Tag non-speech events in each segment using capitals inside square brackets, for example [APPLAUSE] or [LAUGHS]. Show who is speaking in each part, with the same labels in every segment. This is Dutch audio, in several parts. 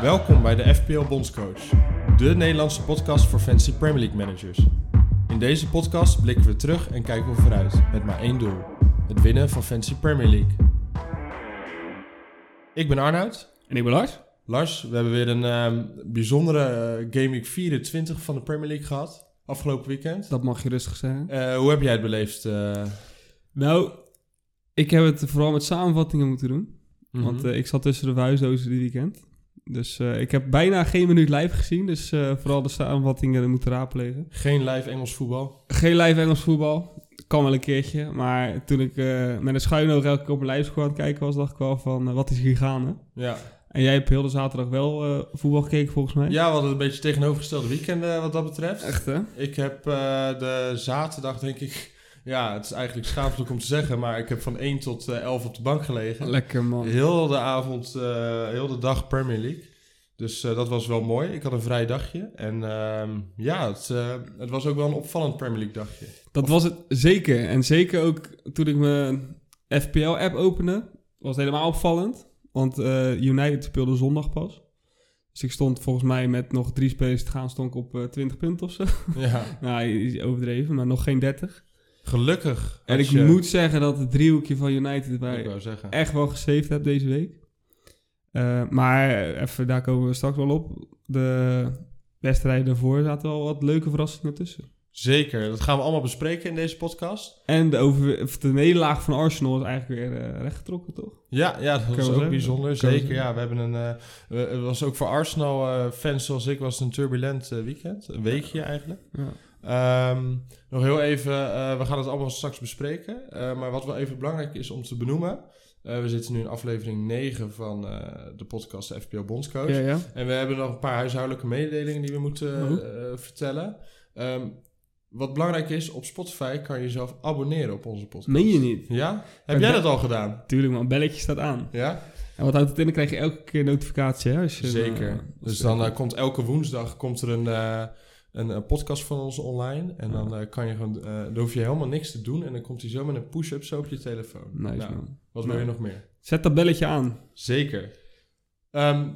Speaker 1: Welkom bij de FPL Bondscoach, de Nederlandse podcast voor fantasy Premier League managers. In deze podcast blikken we terug en kijken we vooruit met maar één doel: het winnen van fantasy Premier League. Ik ben Arnoud.
Speaker 2: En ik ben Lars.
Speaker 1: Lars, we hebben weer een ehm, bijzondere eh, Game Week 24 van de Premier League gehad afgelopen weekend.
Speaker 2: Dat mag je rustig zeggen.
Speaker 1: Eh, hoe heb jij het beleefd? eh?
Speaker 2: Nou, ik heb het vooral met samenvattingen moeten doen. Want
Speaker 1: Mhm.
Speaker 2: eh, ik zat tussen de vuistdozen dit weekend. Dus eh, ik heb bijna geen minuut live gezien. Dus eh, vooral de samenvattingen moeten raadplegen.
Speaker 1: Geen live Engels voetbal.
Speaker 2: Geen live Engels voetbal. Kan wel een keertje. Maar toen ik eh, met een schuin oog elke keer op mijn lijfscore aan het kijken was, dacht ik wel van, eh, wat is hier gaande?
Speaker 1: Ja.
Speaker 2: En jij hebt heel de zaterdag wel eh, voetbal gekeken volgens mij.
Speaker 1: ja, we hadden een beetje tegenovergestelde weekenden wat dat betreft.
Speaker 2: Echt hè?
Speaker 1: Ik heb eh, de zaterdag, denk ik. [LAUGHS] Ja, het is eigenlijk schaaflijk om te zeggen, maar ik heb van 1 tot eh, 11 op de bank gelegen.
Speaker 2: Lekker man.
Speaker 1: Heel de avond, eh, heel de dag Premier League. Dus eh, dat was wel mooi. Ik had een vrij dagje. En ehm, ja, het, eh, het was ook wel een opvallend Premier League
Speaker 2: [LAUGHS]
Speaker 1: dagje.
Speaker 2: Dat was het zeker. En zeker ook toen ik mijn FPL-app opende, was het helemaal opvallend. Want eh, United speelde zondag pas. Dus ik stond volgens mij met nog drie spelers te gaan, stond ik op eh, 20 punten of zo. [LAUGHS]
Speaker 1: Ja,
Speaker 2: nou, is overdreven, maar nog geen 30.
Speaker 1: gelukkig.
Speaker 2: En
Speaker 1: had
Speaker 2: ik
Speaker 1: je-
Speaker 2: moet zeggen dat het driehoekje van United
Speaker 1: Ik
Speaker 2: bij
Speaker 1: wou zeggen.
Speaker 2: echt wel gesaved heb deze week. Eh, maar even, daar komen we straks wel op. De wedstrijden daarvoor zaten wel wat leuke verrassingen tussen.
Speaker 1: Zeker, dat gaan we allemaal bespreken in deze podcast.
Speaker 2: En de, over, of de nederlaag van Arsenal is eigenlijk weer eh, rechtgetrokken, toch?
Speaker 1: Ja, ja dat
Speaker 2: we
Speaker 1: was ook
Speaker 2: zeggen.
Speaker 1: bijzonder.
Speaker 2: Kunnen we
Speaker 1: Zeker,
Speaker 2: zeggen.
Speaker 1: ja. We hebben een, eh, we- het was ook voor Arsenal-fans zoals ik, was het een turbulent eh, weekend. Een weekje eigenlijk.
Speaker 2: Ja.
Speaker 1: Ehm, nog heel even, eh, we gaan het allemaal straks bespreken. Eh, maar wat wel even belangrijk is om te benoemen. eh, we zitten nu in aflevering 9 van eh, de podcast de FPO Bondscoach.
Speaker 2: Ja, ja.
Speaker 1: En we hebben nog een paar huishoudelijke mededelingen die we moeten
Speaker 2: Oh.
Speaker 1: eh, vertellen. Ehm, wat belangrijk is, op Spotify kan je jezelf abonneren op onze podcast.
Speaker 2: Meen je niet?
Speaker 1: Ja? Heb
Speaker 2: En
Speaker 1: jij
Speaker 2: dat-
Speaker 1: dat al gedaan?
Speaker 2: Tuurlijk man, belletje staat aan.
Speaker 1: Ja?
Speaker 2: En wat houdt het in? Dan krijg je elke keer notificatie, hè? Als je,
Speaker 1: Zeker.
Speaker 2: eh,
Speaker 1: dus dan eh, komt elke woensdag komt er een, eh, een, eh, podcast van ons online. En dan eh, kan je gewoon, eh, dan hoef je helemaal niks te doen. En dan komt hij zo met een push-up zo op je telefoon.
Speaker 2: Nice
Speaker 1: Nou,
Speaker 2: man.
Speaker 1: wat wil je
Speaker 2: Nou.
Speaker 1: nog meer?
Speaker 2: Zet dat belletje aan.
Speaker 1: Zeker. Ehm,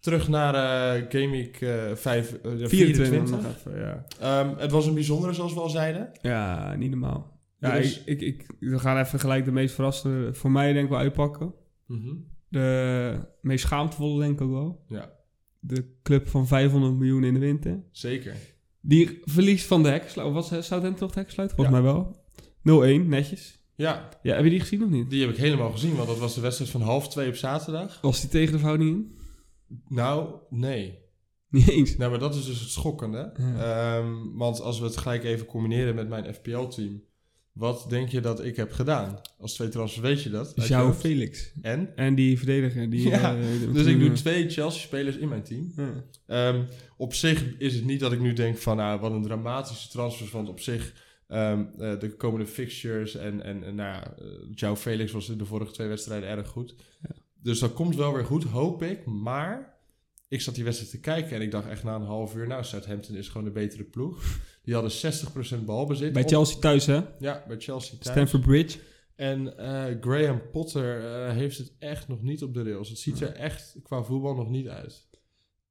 Speaker 1: terug naar eh Game Week eh, vijf- eh, 24.
Speaker 2: 24 nog even, ja.
Speaker 1: Ehm, het was een bijzondere, zoals we al zeiden.
Speaker 2: Ja, niet normaal. Ja,
Speaker 1: Dus-
Speaker 2: ik, ik, ik, we gaan even gelijk de meest verrassende, voor mij denk ik wel uitpakken.
Speaker 1: Mhm.
Speaker 2: De meest schaamtevolle denk ik ook wel.
Speaker 1: Ja.
Speaker 2: De club van 500 miljoen in de winter.
Speaker 1: Zeker.
Speaker 2: Die verliest van de hekkensluit. Was Southampton toch de hekkensluit? Volgens
Speaker 1: Ja.
Speaker 2: mij wel. 0-1, netjes.
Speaker 1: Ja,
Speaker 2: Ja, heb je die gezien of niet?
Speaker 1: die heb ik helemaal gezien, want dat was de wedstrijd van half twee op zaterdag.
Speaker 2: Was die tegen de verhouding in?
Speaker 1: Nou, nee.
Speaker 2: [LAUGHS] Niet eens.
Speaker 1: Nou, maar dat is dus het schokkende. Ehm, want als we het gelijk even combineren met mijn FPL-team. Wat denk je dat ik heb gedaan? Als twee transfer weet je dat. Uit je
Speaker 2: Jou
Speaker 1: hoofd.
Speaker 2: Felix.
Speaker 1: En?
Speaker 2: En die verdediger. Die,
Speaker 1: Ja,
Speaker 2: eh, de-
Speaker 1: Dus ik doe
Speaker 2: eh,
Speaker 1: twee Chelsea-spelers in mijn team.
Speaker 2: ja.
Speaker 1: Ehm, op zich is het niet dat ik nu denk van... Nou, wat een dramatische transfers. Want op zich ehm, eh, de komende fixtures en, en, en nou ja, eh, João Felix was in de vorige twee wedstrijden erg goed. Dus dat komt wel weer goed, hoop ik. Maar ik zat die wedstrijd te kijken en ik dacht echt na een half uur... Nou, Southampton is gewoon de betere ploeg. Die hadden 60% balbezit.
Speaker 2: Bij
Speaker 1: Op-
Speaker 2: Chelsea thuis, hè?
Speaker 1: Ja, bij Chelsea thuis.
Speaker 2: Stamford Bridge.
Speaker 1: En eh, Graham Potter eh, heeft het echt nog niet op de rails. Het ziet er echt qua voetbal nog niet uit.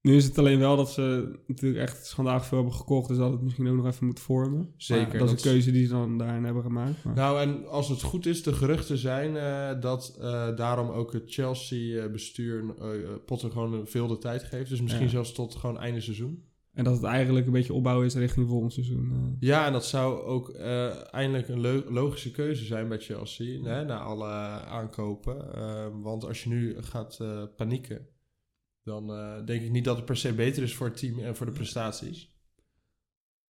Speaker 2: Nu is het alleen wel dat ze natuurlijk echt schandalig veel hebben gekocht. Dus dat het misschien ook nog even moet vormen.
Speaker 1: Zeker,
Speaker 2: Maar dat
Speaker 1: dat
Speaker 2: is een
Speaker 1: is-
Speaker 2: keuze die ze dan daarin hebben gemaakt. Maar...
Speaker 1: Nou, en als het goed is, de geruchten zijn eh, dat eh, daarom ook het Chelsea-bestuur eh, Potter gewoon een veel de tijd geeft. Dus misschien
Speaker 2: Ja.
Speaker 1: zelfs tot gewoon einde seizoen.
Speaker 2: En dat het eigenlijk een beetje opbouwen is richting volgend seizoen. eh.
Speaker 1: Ja, en dat zou ook eh, eindelijk een lo- logische keuze zijn bij Chelsea. Hè, na alle aankopen. Eh, want als je nu gaat eh, panieken, dan eh, denk ik niet dat het per se beter is voor het team en voor de prestaties.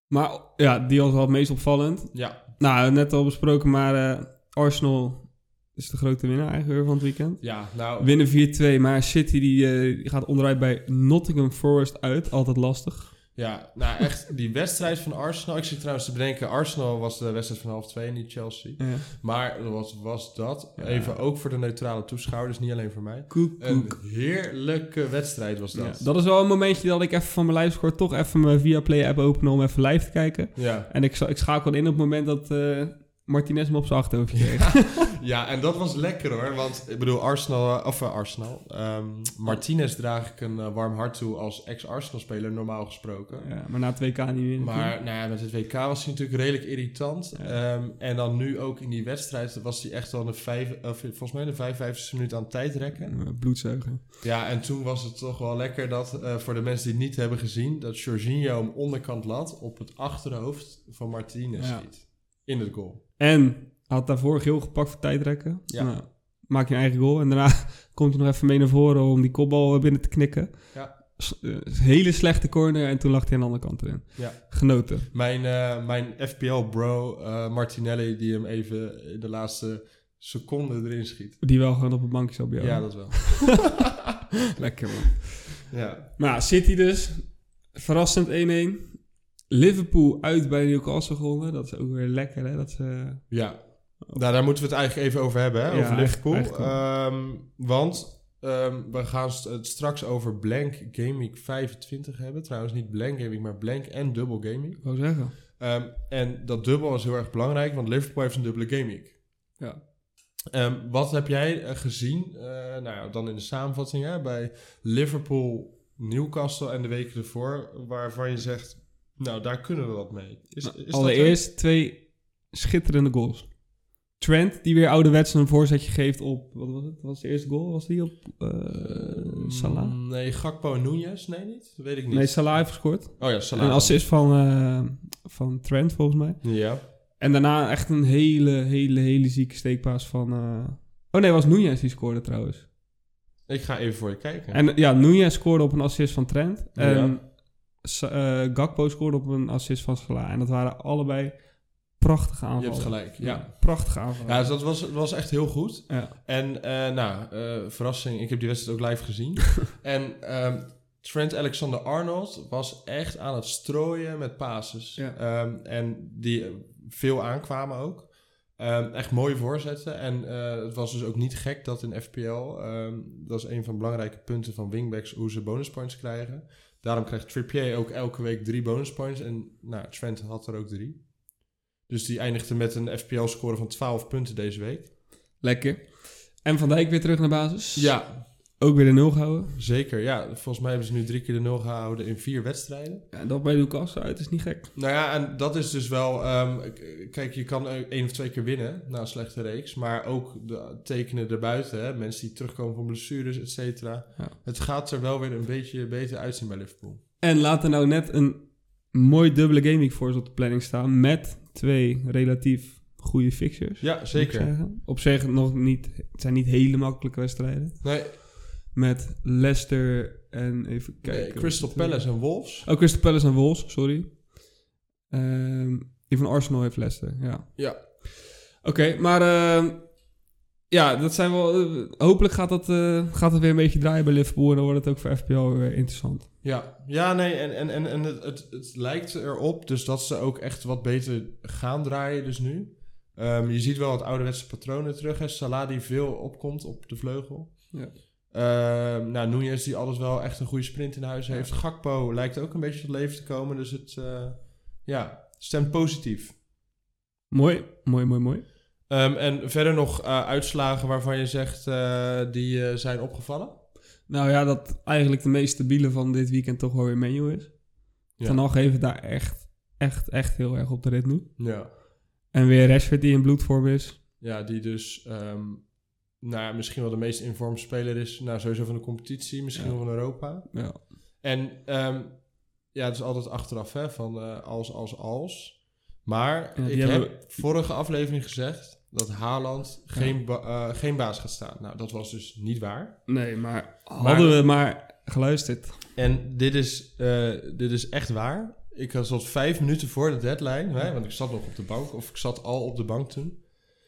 Speaker 2: Maar ja, die was wel het meest opvallend.
Speaker 1: Ja,
Speaker 2: Nou, net al besproken, maar eh, Arsenal is de grote winnaar eigenlijk weer van het weekend.
Speaker 1: Ja, nou,
Speaker 2: Winnen 4-2, maar City die, eh, die gaat onderuit bij Nottingham Forest uit. Altijd lastig.
Speaker 1: ja, nou echt, die wedstrijd van Arsenal. Ik zit trouwens te bedenken, Arsenal was de wedstrijd van half twee, niet Chelsea.
Speaker 2: Ja.
Speaker 1: Maar wat was dat?
Speaker 2: Ja.
Speaker 1: Even ook voor de neutrale toeschouwer, dus niet alleen voor mij.
Speaker 2: Koek,
Speaker 1: Een
Speaker 2: koek.
Speaker 1: heerlijke wedstrijd was
Speaker 2: Ja,
Speaker 1: dat. Ja,
Speaker 2: dat Eh, is wel een momentje dat ik even van mijn livescore toch even mijn Viaplay app openen om even live te kijken.
Speaker 1: ja.
Speaker 2: [LAUGHS] En ik, scha- ik schakel in op het moment dat eh, Martinez me op zijn achterhoofd kreeg.
Speaker 1: Ja, en dat was lekker hoor. Want ik bedoel, Arsenal, eh, of eh, Arsenal. ehm, Martinez draag ik een eh, warm hart toe als ex-Arsenal-speler, normaal gesproken.
Speaker 2: Ja, maar na het WK niet meer.
Speaker 1: Maar nou ja, met het WK was hij natuurlijk redelijk irritant.
Speaker 2: Ja.
Speaker 1: Ehm, en dan nu ook in die wedstrijd was hij echt al een vijf, of volgens mij de 55 minuut aan tijd rekken.
Speaker 2: Eh, Bloedzuigen.
Speaker 1: Ja, en toen was het toch wel lekker dat, eh, voor de mensen die het niet hebben gezien, dat Jorginho hem onderkant lat op het achterhoofd van Martinez
Speaker 2: Ja.
Speaker 1: schiet. In het goal.
Speaker 2: En had daarvoor geel gepakt voor tijdrekken.
Speaker 1: Ja.
Speaker 2: Nou, maak je een eigen goal. En daarna [LAUGHS] komt hij nog even mee naar voren om die kopbal eh, binnen te knikken.
Speaker 1: Ja.
Speaker 2: S- eh, hele slechte corner en toen lag hij aan de andere kant erin.
Speaker 1: Ja.
Speaker 2: Genoten.
Speaker 1: Mijn, eh, mijn FPL-bro eh, Martinelli, die hem even in de laatste seconde erin schiet.
Speaker 2: Die wel gewoon op een bankje zou bij
Speaker 1: Ja,
Speaker 2: jou.
Speaker 1: dat wel.
Speaker 2: Lekker man.
Speaker 1: [LAUGHS] Ja.
Speaker 2: Maar ja, City dus. Verrassend 1-1. Liverpool uit bij Newcastle gewonnen. Dat is ook weer lekker hè. Dat ze...
Speaker 1: ja. Nou, daar moeten we het eigenlijk even over hebben, hè?
Speaker 2: Ja,
Speaker 1: over Liverpool.
Speaker 2: eigenlijk
Speaker 1: Ehm, want ehm, we gaan st- het straks over Blank Game Week 25 hebben. Trouwens, niet Blank Game Week, maar Blank en Double Game Week.
Speaker 2: Ik wou zeggen.
Speaker 1: Ehm, en dat dubbel is heel erg belangrijk, want Liverpool heeft een dubbele game week.
Speaker 2: Ja.
Speaker 1: Ehm, wat heb jij eh, gezien, eh, nou ja, dan in de samenvatting, hè, bij Liverpool, Newcastle en de weken ervoor, waarvan je zegt, nou daar kunnen we wat mee. Is, is dat
Speaker 2: Nou, Allereerst twee schitterende goals. Trent, die weer ouderwets een voorzetje geeft op... Wat was het? Wat was de eerste goal? Was die op eh,
Speaker 1: een-
Speaker 2: Salah?
Speaker 1: Mm, Nee, Gakpo en Nunez? Nee, niet? Dat weet ik niet.
Speaker 2: Nee, Salah heeft gescoord.
Speaker 1: oh ja,
Speaker 2: Een
Speaker 1: Salah.
Speaker 2: assist van, eh, van Trent, volgens mij.
Speaker 1: Ja.
Speaker 2: En daarna echt een hele, hele, hele zieke steekpaas van... eh, Oh nee, was Nunez die scoorde trouwens.
Speaker 1: Ik ga even voor je kijken.
Speaker 2: En ja, Nunez scoorde op een assist van Trent. En
Speaker 1: Ja.
Speaker 2: Sa- eh, Gakpo scoorde op een assist van Salah. En dat waren allebei prachtige
Speaker 1: je
Speaker 2: aanvallen.
Speaker 1: hebt gelijk, ja.
Speaker 2: Prachtige aanvallen.
Speaker 1: Ja, dus dat was, was echt heel goed.
Speaker 2: Ja.
Speaker 1: En eh, nou, eh, verrassing, ik heb die wedstrijd ook live gezien. en ehm, Trent Alexander-Arnold was echt aan het strooien met pases.
Speaker 2: Ja.
Speaker 1: Ehm, en die eh, veel aankwamen ook. Ehm, echt mooi voorzetten. En eh, het was dus ook niet gek dat in FPL... ehm, dat is een van de belangrijke punten van wingbacks... hoe ze bonuspoints krijgen. Daarom krijgt Trippier ook elke week drie bonuspoints. En nou, Trent had er ook drie. Dus die eindigde met een FPL-score van 12 punten deze week.
Speaker 2: Lekker. En Van Dijk weer terug naar basis.
Speaker 1: Ja,
Speaker 2: Ook weer de nul gehouden.
Speaker 1: Zeker, ja. Volgens mij hebben ze nu drie keer de nul gehouden in vier wedstrijden.
Speaker 2: Ja, dat bij Lucas uit is niet gek.
Speaker 1: Nou ja, en dat is dus wel... ehm, k- kijk, je kan eh, één of twee keer winnen na een slechte reeks. Maar ook de tekenen erbuiten, hè. Mensen die terugkomen van blessures, et cetera.
Speaker 2: Ja.
Speaker 1: Het gaat er wel weer een beetje beter uitzien bij Liverpool.
Speaker 2: En laat er nou net een mooi dubbele gameweek voor ze op de planning staan. Met twee relatief goede fixtures.
Speaker 1: Ja,
Speaker 2: moet ik
Speaker 1: zeker.
Speaker 2: zeggen. Op zich nog niet, het zijn niet hele makkelijke wedstrijden.
Speaker 1: Nee,
Speaker 2: Met Leicester en even kijken.
Speaker 1: nee, Crystal
Speaker 2: wat is het?
Speaker 1: Palace en Wolves.
Speaker 2: Oh, Crystal Palace en Wolves, sorry. Ehm die van Arsenal heeft Leicester, ja.
Speaker 1: Ja.
Speaker 2: Oké, maar ehm, ja, dat zijn wel. eh, hopelijk gaat dat, eh, gaat dat weer een beetje draaien bij Liverpool. En dan wordt het ook voor FPL weer interessant.
Speaker 1: Ja, ja nee, en, en, en, en het, het, het lijkt erop dus dat ze ook echt wat beter gaan draaien dus nu. Ehm, je ziet wel wat ouderwetse patronen terug. Hè. Salah die veel opkomt op de vleugel.
Speaker 2: Ja.
Speaker 1: Ehm, nou, Nunez die alles wel echt een goede sprint in huis
Speaker 2: Ja.
Speaker 1: heeft. Gakpo lijkt ook een beetje tot leven te komen. Dus het eh, ja, stemt positief.
Speaker 2: Mooi, mooi, mooi, mooi.
Speaker 1: Ehm, en verder nog eh, uitslagen waarvan je zegt eh, die eh, zijn opgevallen.
Speaker 2: Nou ja, dat eigenlijk de meest stabiele van dit weekend toch wel weer menu is.
Speaker 1: Ja.
Speaker 2: Van Al geven daar echt, echt, echt heel erg op de rit nu.
Speaker 1: Ja.
Speaker 2: En weer Rashford die in bloedvorm is.
Speaker 1: Ja, die dus ehm, nou, ja, misschien wel de meest informed speler is. Nou, sowieso van de competitie, misschien
Speaker 2: Ja.
Speaker 1: wel van Europa.
Speaker 2: Ja.
Speaker 1: En ehm, ja, het is altijd achteraf, hè, van eh, als, als, als. Maar
Speaker 2: Ja, die
Speaker 1: ik
Speaker 2: hebben-
Speaker 1: heb vorige aflevering gezegd dat Haaland geen, ba- eh, geen baas gaat staan. Nou, dat was dus niet waar.
Speaker 2: Nee, maar hadden we maar geluisterd.
Speaker 1: En dit is, eh, dit is echt waar. Ik had tot vijf minuten voor de deadline, hè, want ik zat nog op de bank, of ik zat al op de bank toen.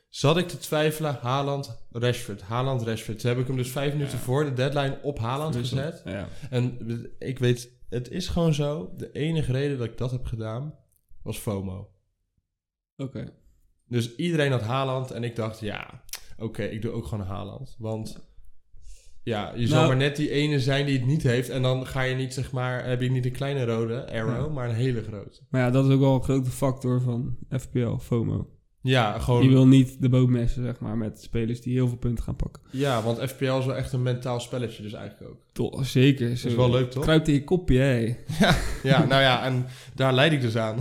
Speaker 1: Zat ik te twijfelen, Haaland, Rashford, Haaland, Rashford. Toen heb ik hem dus vijf minuten voor de deadline op Haaland gezet.
Speaker 2: Ja.
Speaker 1: En ik weet, het is gewoon zo. De enige reden dat ik dat heb gedaan, was FOMO.
Speaker 2: Oké.
Speaker 1: Dus iedereen had Haaland en ik dacht, ja, oké, ik doe ook gewoon Haaland. Want ja, je zal
Speaker 2: Nou-
Speaker 1: maar net die ene zijn die het niet heeft. En dan ga je niet, zeg maar, heb je niet een kleine rode arrow,
Speaker 2: Ja.
Speaker 1: maar een hele grote.
Speaker 2: Maar ja, dat is ook wel een grote factor van FPL, FOMO.
Speaker 1: Ja,
Speaker 2: Je
Speaker 1: gewoon,
Speaker 2: wil niet de boot messen, zeg maar, met spelers die heel veel punten gaan pakken.
Speaker 1: ja, want FPL is wel echt een mentaal spelletje dus eigenlijk ook.
Speaker 2: Toch, zeker.
Speaker 1: Dat is wel leuk, toch?
Speaker 2: Kruipt in je kopje, hé.
Speaker 1: Ja, nou ja, en daar leid ik dus aan.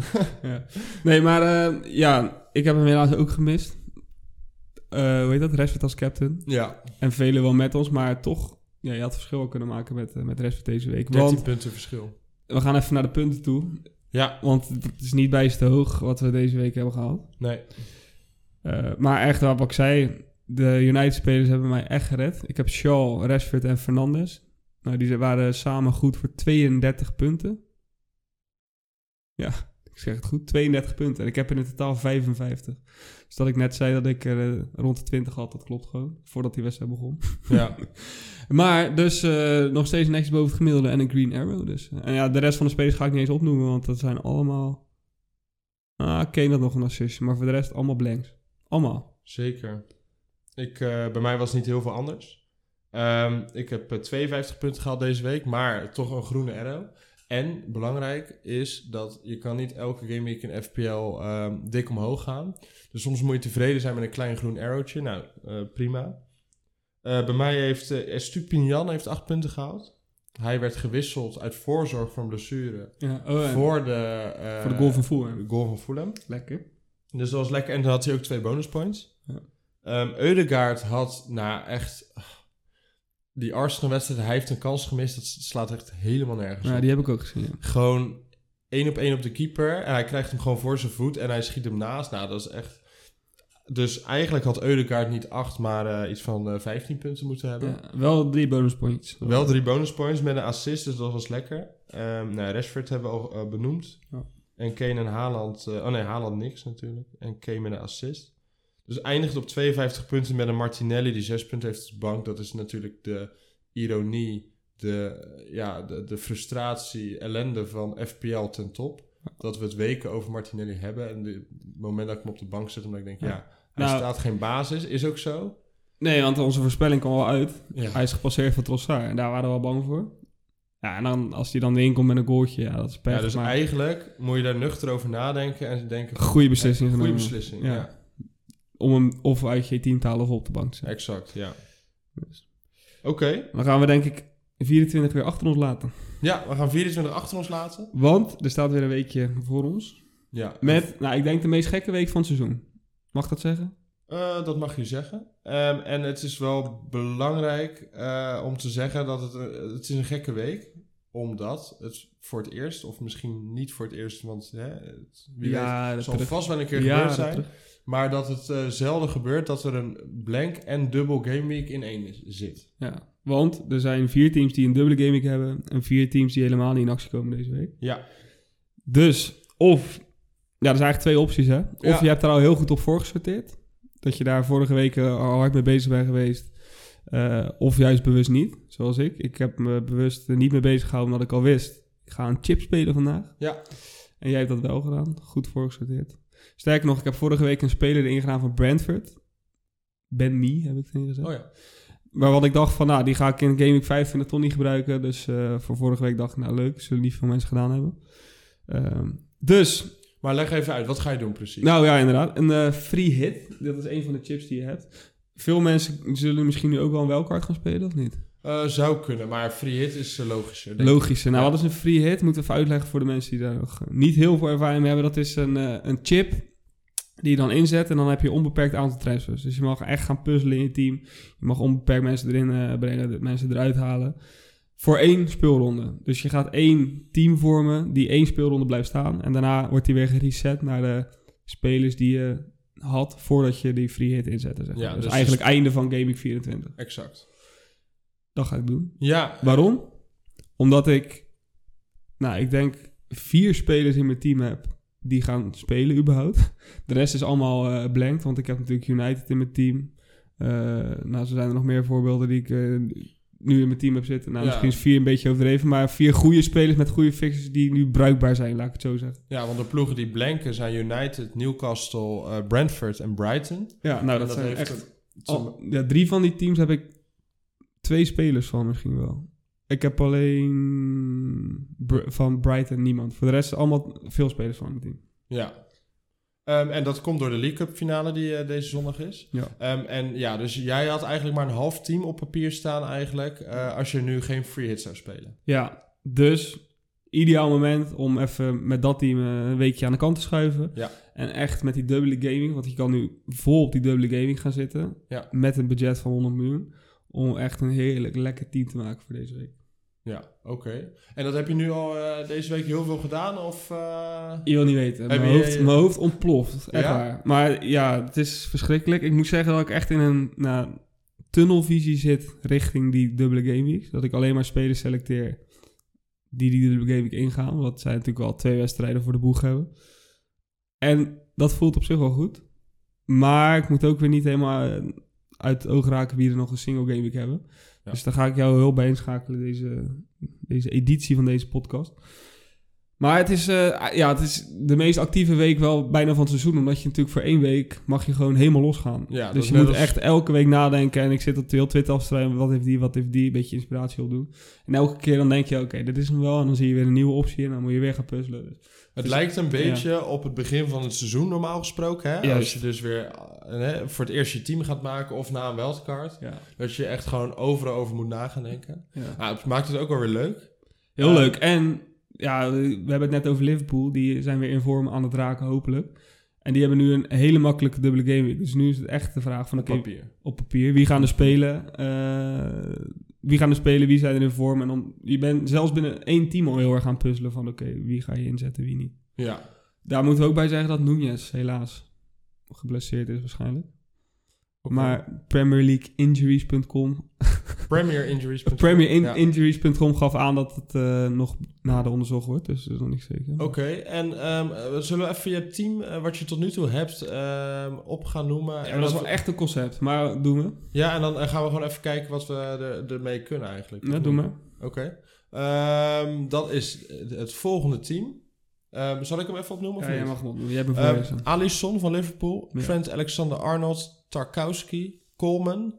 Speaker 1: [LAUGHS]
Speaker 2: Nee, maar eh, ja, ik heb hem helaas ook gemist. Eh hoe heet dat? Rashford als captain.
Speaker 1: Ja,
Speaker 2: En velen wel met ons, maar toch... Ja, je had verschil wel kunnen maken met, eh, met Rashford deze week.
Speaker 1: 13
Speaker 2: Want
Speaker 1: punten verschil.
Speaker 2: we gaan even naar de punten toe.
Speaker 1: Ja,
Speaker 2: Want het is niet bijst te hoog wat we deze week hebben gehaald. [LAUGHS]
Speaker 1: nee.
Speaker 2: Eh, maar echt, wat ik zei, de United-spelers hebben mij echt gered. Ik heb Shaw, Rashford en Fernandes. Nou, die waren samen goed voor 32 punten. Ja, ik zeg het goed, 32 punten. En ik heb in het totaal 55. Dus dat ik net zei dat ik er eh, rond de 20 had, dat klopt gewoon. Voordat die wedstrijd begon.
Speaker 1: Ja,
Speaker 2: Maar dus eh, nog steeds netjes boven het gemiddelde en een green arrow dus. En ja, de rest van de spelers ga ik niet eens opnoemen, want dat zijn allemaal... Ah, Kane had nog een assistje, maar voor de rest allemaal blanks. Allemaal.
Speaker 1: zeker. Ik, eh, bij mij was niet heel veel anders. Ehm, ik heb eh, 52 punten gehaald deze week, maar toch een groene arrow. En belangrijk is dat je kan niet elke gameweek in FPL ehm, dik omhoog gaan. Dus soms moet je tevreden zijn met een klein groen arrowtje. Nou, eh, prima. Eh, bij mij heeft eh, Estupinian heeft 8 punten gehaald. Hij werd gewisseld uit voorzorg van blessure
Speaker 2: Ja, oh, en
Speaker 1: voor, de, eh,
Speaker 2: voor de goal van Fulham.
Speaker 1: de goal van Fulham.
Speaker 2: Lekker.
Speaker 1: Dus dat was lekker. En dan had hij ook twee bonus points.
Speaker 2: Ja.
Speaker 1: Ehm Eudegaard had, nou echt... Die Arsenal-wedstrijd, hij heeft een kans gemist. Dat slaat echt helemaal nergens
Speaker 2: Ja,
Speaker 1: op.
Speaker 2: die heb ik ook gezien. ja.
Speaker 1: Gewoon één op één op de keeper. En hij krijgt hem gewoon voor zijn voet. En hij schiet hem naast. Nou, dat is echt... Dus eigenlijk had Eudegaard niet acht, maar eh, iets van eh 15 punten moeten hebben.
Speaker 2: Ja, wel drie bonus points.
Speaker 1: Wel drie bonus points met een assist, dus dat was lekker. Ehm nou, Rashford hebben we al eh, benoemd.
Speaker 2: Ja.
Speaker 1: En Kane en Haaland... eh, oh nee, Haaland niks natuurlijk. En Kane met een assist. Dus eindigt op 52 punten met een Martinelli die 6 punten heeft op de bank. Dat is natuurlijk de ironie, de, eh, ja, de, de frustratie, ellende van FPL ten top. Dat we het weken over Martinelli hebben. En de- het moment dat ik hem op de bank zet, omdat ik denk, ja,
Speaker 2: Ja.
Speaker 1: hij
Speaker 2: Nou-
Speaker 1: staat geen basis. Is ook zo.
Speaker 2: Nee, want onze voorspelling kwam al uit.
Speaker 1: Ja.
Speaker 2: Hij is gepasseerd van Trossard. En daar waren we al bang voor. Ja, en dan als hij dan erin komt met een goaltje, ja, dat is
Speaker 1: Ja,
Speaker 2: perfect.
Speaker 1: dus
Speaker 2: maar
Speaker 1: eigenlijk moet je daar nuchter over nadenken en denken...
Speaker 2: goede beslissing
Speaker 1: Goede
Speaker 2: genomen.
Speaker 1: beslissing, ja.
Speaker 2: Ja. Om hem of uit je team te halen of op de bank te zetten.
Speaker 1: Exact, ja.
Speaker 2: Dus.
Speaker 1: Oké.
Speaker 2: Dan gaan we denk ik 24 weer achter ons laten.
Speaker 1: Ja, we gaan 24 achter ons laten.
Speaker 2: Want er staat weer een weekje voor ons.
Speaker 1: Ja.
Speaker 2: Met, nou, ik denk de meest gekke week van het seizoen. Mag dat zeggen?
Speaker 1: Eh, dat mag je zeggen. Ehm, en het is wel belangrijk eh, om te zeggen dat het, een- het is een gekke week is. Omdat het voor het eerst, of misschien niet voor het eerst, want hè, het, wie weet...
Speaker 2: ja,
Speaker 1: Het
Speaker 2: dat
Speaker 1: zal
Speaker 2: terug.
Speaker 1: vast wel een keer
Speaker 2: Ja,
Speaker 1: gebeurd
Speaker 2: dat
Speaker 1: zijn.
Speaker 2: terug.
Speaker 1: Maar dat het eh, zelden gebeurt dat er een blank en dubbel game week in één is- zit.
Speaker 2: Ja, want er zijn vier teams die een dubbele gaming hebben en vier teams die helemaal niet in actie komen deze week.
Speaker 1: Ja.
Speaker 2: Dus, of, ja, er zijn eigenlijk twee opties hè. Of
Speaker 1: Ja.
Speaker 2: je hebt daar al heel goed op voorgesorteerd, dat je daar vorige week eh, al hard mee bezig bent geweest. Eh, of juist bewust niet, zoals ik. Ik heb me bewust er niet mee bezig gehouden omdat ik al wist, ik ga een chip spelen vandaag.
Speaker 1: Ja.
Speaker 2: En jij hebt dat wel gedaan, goed voorgesorteerd. Sterker nog, ik heb vorige week een speler erin gedaan van Brentford. Ben Me, heb ik tegen gezegd.
Speaker 1: Oh ja.
Speaker 2: Maar wat ik dacht van, nou, die ga ik in Game Week 25 toch niet gebruiken. Dus eh, voor vorige week dacht ik, nou leuk, zullen niet veel mensen gedaan hebben. Ehm, dus,
Speaker 1: Maar leg even uit, wat ga je doen precies?
Speaker 2: nou ja, inderdaad. Een eh, free hit, dat is een van de chips die je hebt. Veel mensen zullen misschien nu ook wel een welkaart gaan spelen, of niet?
Speaker 1: Eh, zou kunnen, maar free hit is eh, logischer. denk ik.
Speaker 2: Logisch. Nou, wat is een free hit? Moeten we even uitleggen voor de mensen die daar nog eh, niet heel veel ervaring mee hebben. Dat is een, eh, een chip die je dan inzet en dan heb je onbeperkt aantal transfers. Dus je mag echt gaan puzzelen in je team. Je mag onbeperkt mensen erin eh, brengen, de- mensen eruit halen. Voor één speelronde. Dus je gaat één team vormen die één speelronde blijft staan. En daarna wordt die weer gereset naar de spelers die je had voordat je die free hit inzette. Zeg maar.
Speaker 1: Ja,
Speaker 2: dus,
Speaker 1: dus-
Speaker 2: eigenlijk einde van Gaming 24.
Speaker 1: Exact.
Speaker 2: Dat ga ik doen.
Speaker 1: Ja,
Speaker 2: Waarom? Omdat ik, nou, ik denk vier spelers in mijn team heb die gaan spelen überhaupt. De rest is allemaal eh blanked, want ik heb natuurlijk United in mijn team. Eh, nou, zo zijn er nog meer voorbeelden die ik eh, nu in mijn team heb zitten. Nou,
Speaker 1: Ja.
Speaker 2: misschien is vier een beetje overdreven, maar vier goede spelers met goede fixes die nu bruikbaar zijn, laat ik het zo zeggen.
Speaker 1: ja, want de ploegen die blanken zijn United, Newcastle, eh, Brentford en Brighton.
Speaker 2: Ja, nou, dat,
Speaker 1: En
Speaker 2: zijn
Speaker 1: heeft
Speaker 2: echt...
Speaker 1: een- te-
Speaker 2: al- ja, drie van die teams heb ik twee spelers van misschien wel. Ik heb alleen Br- van Brighton niemand. Voor de rest allemaal veel spelers van het team.
Speaker 1: Ja. Ehm, en dat komt door de League Cup finale die eh, deze zondag is.
Speaker 2: Ja.
Speaker 1: Ehm, en ja, dus jij had eigenlijk maar een half team op papier staan eigenlijk... eh, als je nu geen free hit zou spelen.
Speaker 2: Ja, dus ideaal moment om even met dat team eh, een weekje aan de kant te schuiven.
Speaker 1: Ja.
Speaker 2: En echt met die dubbele gaming, want je kan nu vol op die dubbele gaming gaan zitten.
Speaker 1: Ja.
Speaker 2: Met een budget van 100 miljoen. Om echt een heerlijk lekker team te maken voor deze week.
Speaker 1: Ja, oké. En dat heb je nu al eh, deze week heel veel gedaan of... eh,
Speaker 2: Je wil niet weten. Mijn,
Speaker 1: Heb je-
Speaker 2: hoofd,
Speaker 1: je-
Speaker 2: mijn hoofd ontploft. Echt
Speaker 1: Ja?
Speaker 2: waar. Maar ja, het is verschrikkelijk. Ik moet zeggen dat ik echt in een nou, tunnelvisie zit richting die dubbele game weeks. Dat ik alleen maar spelers selecteer die die dubbele game week ingaan. Want zij natuurlijk al twee wedstrijden voor de boeg hebben. En dat voelt op zich wel goed. Maar ik moet ook weer niet helemaal eh, uit het oog raken wie er nog een single game week hebben.
Speaker 1: Ja.
Speaker 2: Dus daar ga ik jou heel bij inschakelen deze, deze editie van deze podcast. Maar het is, eh, ja, het is de meest actieve week wel bijna van het seizoen. Omdat je natuurlijk voor één week mag je gewoon helemaal losgaan.
Speaker 1: Ja, dat
Speaker 2: dus
Speaker 1: is
Speaker 2: je
Speaker 1: net
Speaker 2: moet
Speaker 1: als-
Speaker 2: echt elke week nadenken. En ik zit op heel Twitter af te schrijven. Wat heeft die, wat heeft die. Een beetje inspiratie opdoen. En elke keer dan denk je, oké, dit is hem wel. En dan zie je weer een nieuwe optie. En dan moet je weer gaan puzzelen. Dus
Speaker 1: Het
Speaker 2: Dus-
Speaker 1: lijkt een beetje op het begin van het seizoen normaal gesproken. Hè?
Speaker 2: Juist.
Speaker 1: Als je dus weer eh, hè, voor het eerst je team gaat maken of na een wildcard.
Speaker 2: ja,
Speaker 1: Dat je echt gewoon overal over moet na gaan denken.
Speaker 2: ja.
Speaker 1: Ah, het maakt het ook wel weer leuk.
Speaker 2: Heel
Speaker 1: Ja.
Speaker 2: leuk. En ja, we hebben het net over Liverpool. Die zijn weer in vorm aan het raken, hopelijk. En die hebben nu een hele makkelijke dubbele game week. Dus nu is het echt de vraag van...
Speaker 1: Op
Speaker 2: oké,
Speaker 1: papier.
Speaker 2: op papier. Wie gaan er spelen? Eh, wie gaan er spelen? Wie zijn er in vorm? En dan, je bent zelfs binnen één team al heel erg aan het puzzelen van... oké, wie ga je inzetten, wie niet?
Speaker 1: Ja,
Speaker 2: Daar moeten we ook bij zeggen dat Nunez helaas geblesseerd is waarschijnlijk.
Speaker 1: Oké.
Speaker 2: Maar Premier League Injuries.com
Speaker 1: Premier injuries.
Speaker 2: Premier in
Speaker 1: Ja.
Speaker 2: Injuries.com gaf aan dat het eh, nog nader onderzocht wordt. Dus dat is nog niet zeker.
Speaker 1: Oké, en ehm, eh, zullen we even je team, eh, wat je tot nu toe hebt, ehm, op gaan noemen?
Speaker 2: Ja,
Speaker 1: en
Speaker 2: maar dat is
Speaker 1: wat-
Speaker 2: wel echt een concept. Maar doen we.
Speaker 1: ja, en dan eh, gaan we gewoon even kijken wat we er- ermee kunnen eigenlijk.
Speaker 2: Ja, doen we.
Speaker 1: Oké. Ehm, dat is het volgende team. Ehm, zal ik hem even opnoemen? of
Speaker 2: Ja, jij
Speaker 1: niet?
Speaker 2: mag hem opdoen. Jij bent
Speaker 1: Ehm,
Speaker 2: voorlezen.
Speaker 1: Alisson van Liverpool,
Speaker 2: Ja.
Speaker 1: Trent Alexander-Arnold, Tarkowski, Coleman,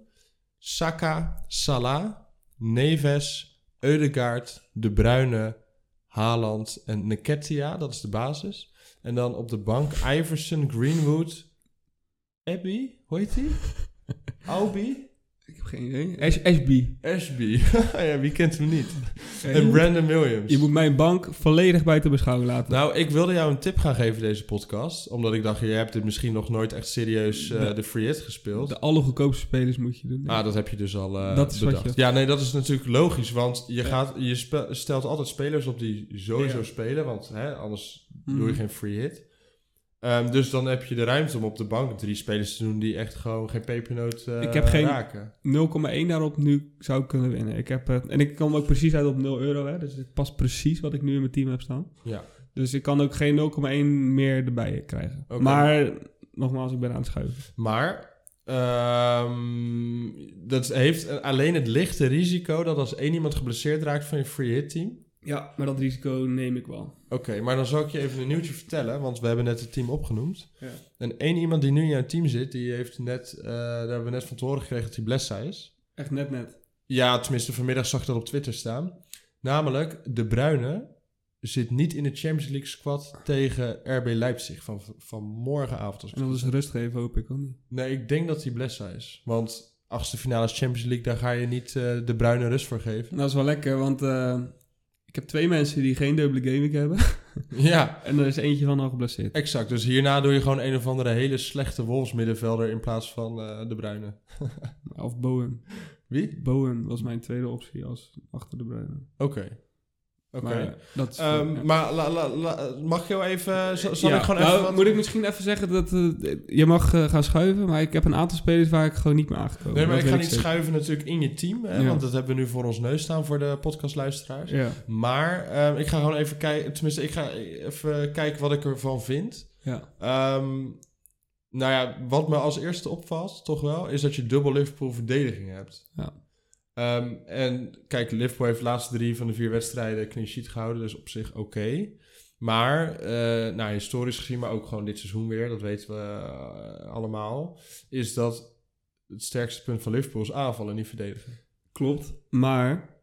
Speaker 1: Saka, Salah, Neves, Eudegaard, De Bruyne, Haaland en Nketiah. Dat is de basis. En dan op de bank Iverson, Greenwood, Abby, hoe heet
Speaker 2: [LAUGHS]
Speaker 1: die? Aubi?
Speaker 2: Ik heb geen idee. Ash- Ashby.
Speaker 1: Ashby. [LAUGHS] ja, wie kent hem niet? En
Speaker 2: Oké.
Speaker 1: Brandon Williams.
Speaker 2: Je moet mijn bank volledig buiten beschouwing laten.
Speaker 1: Nou, ik wilde jou een tip gaan geven deze podcast. Omdat ik dacht, je hebt dit misschien nog nooit echt serieus eh,
Speaker 2: De-
Speaker 1: de free hit gespeeld.
Speaker 2: De allergoedkoopste spelers moet je doen. denk ik.
Speaker 1: Ah, dat heb je dus al eh,
Speaker 2: Dat is wat
Speaker 1: bedacht.
Speaker 2: je-
Speaker 1: Ja, nee, dat is natuurlijk logisch. Want je,
Speaker 2: Ja.
Speaker 1: gaat, je spe- stelt altijd spelers op die sowieso
Speaker 2: Ja.
Speaker 1: spelen. Want hè, anders
Speaker 2: Mhm.
Speaker 1: doe je geen free hit. Ehm, dus dan heb je de ruimte om op de bank drie spelers te doen die echt gewoon geen pepernoot eh,
Speaker 2: Ik heb geen-
Speaker 1: raken.
Speaker 2: 0,1 daarop nu zou ik kunnen winnen. Ik heb, eh, en ik kan ook precies uit op 0 euro. Hè, dus het past precies wat ik nu in mijn team heb staan.
Speaker 1: Ja.
Speaker 2: Dus ik kan ook geen 0,1 meer erbij krijgen.
Speaker 1: Oké.
Speaker 2: Maar nogmaals, ik ben aan het schuiven.
Speaker 1: Maar ehm, dat heeft alleen het lichte risico dat als één iemand geblesseerd raakt van je free hit team.
Speaker 2: Ja, maar dat risico neem ik wel.
Speaker 1: Oké, maar dan zal ik je even een nieuwtje vertellen, want we hebben net het team opgenoemd.
Speaker 2: Ja.
Speaker 1: En één iemand die nu in jouw team zit, die heeft net, eh, daar hebben we net van te horen gekregen dat hij blessa is.
Speaker 2: Echt net net.
Speaker 1: Ja, tenminste vanmiddag zag ik dat op Twitter staan. Namelijk, De Bruyne zit niet in de Champions League squad tegen RB Leipzig van, van morgenavond. Als ik
Speaker 2: En dat is rust geven, hoop ik ook niet.
Speaker 1: Nee, ik denk dat hij blessa is. Want achtste finale Champions League, daar ga je niet eh, De Bruyne rust voor
Speaker 2: [LAUGHS]
Speaker 1: geven.
Speaker 2: En Nou, dat is wel lekker, want eh, ik heb twee mensen die geen dubbele gaming hebben. [LAUGHS]
Speaker 1: ja,
Speaker 2: en er is eentje van al geblesseerd.
Speaker 1: Exact, dus hierna doe je gewoon een of andere hele slechte Wolves middenvelder in plaats van eh, De Bruyne.
Speaker 2: Of Bowen.
Speaker 1: Wie?
Speaker 2: Bowen was mijn tweede optie als achter de Bruyne.
Speaker 1: Oké. Oké.
Speaker 2: Maar dat is...
Speaker 1: Ehm,
Speaker 2: ja.
Speaker 1: Maar la- la- la- mag je wel even... Zal, zal
Speaker 2: Ja,
Speaker 1: ik gewoon
Speaker 2: nou,
Speaker 1: even wat...
Speaker 2: Moet ik misschien even zeggen dat... eh, je mag eh, gaan schuiven, maar ik heb een aantal spelers waar ik gewoon niet meer aangekomen
Speaker 1: Nee, maar
Speaker 2: Dat
Speaker 1: ik ga
Speaker 2: weet
Speaker 1: niet
Speaker 2: zeker.
Speaker 1: schuiven natuurlijk in je team. Hè,
Speaker 2: Ja.
Speaker 1: Want dat hebben we nu voor ons neus staan voor de podcastluisteraars.
Speaker 2: Ja,
Speaker 1: Maar ehm, ik ga gewoon even kijken... Tenminste, ik ga even kijken wat ik ervan vind.
Speaker 2: ja.
Speaker 1: Ehm, nou ja, wat me als eerste opvalt, toch wel... is dat je dubbel Liverpool verdediging hebt.
Speaker 2: Ja.
Speaker 1: Ehm, en kijk, Liverpool heeft de laatste drie van de vier wedstrijden clean sheet gehouden, dus op zich oké. Maar, eh, nou, historisch gezien, maar ook gewoon dit seizoen weer, dat weten we eh, allemaal, is dat het sterkste punt van Liverpool is aanvallen, niet verdedigen.
Speaker 2: Klopt. Maar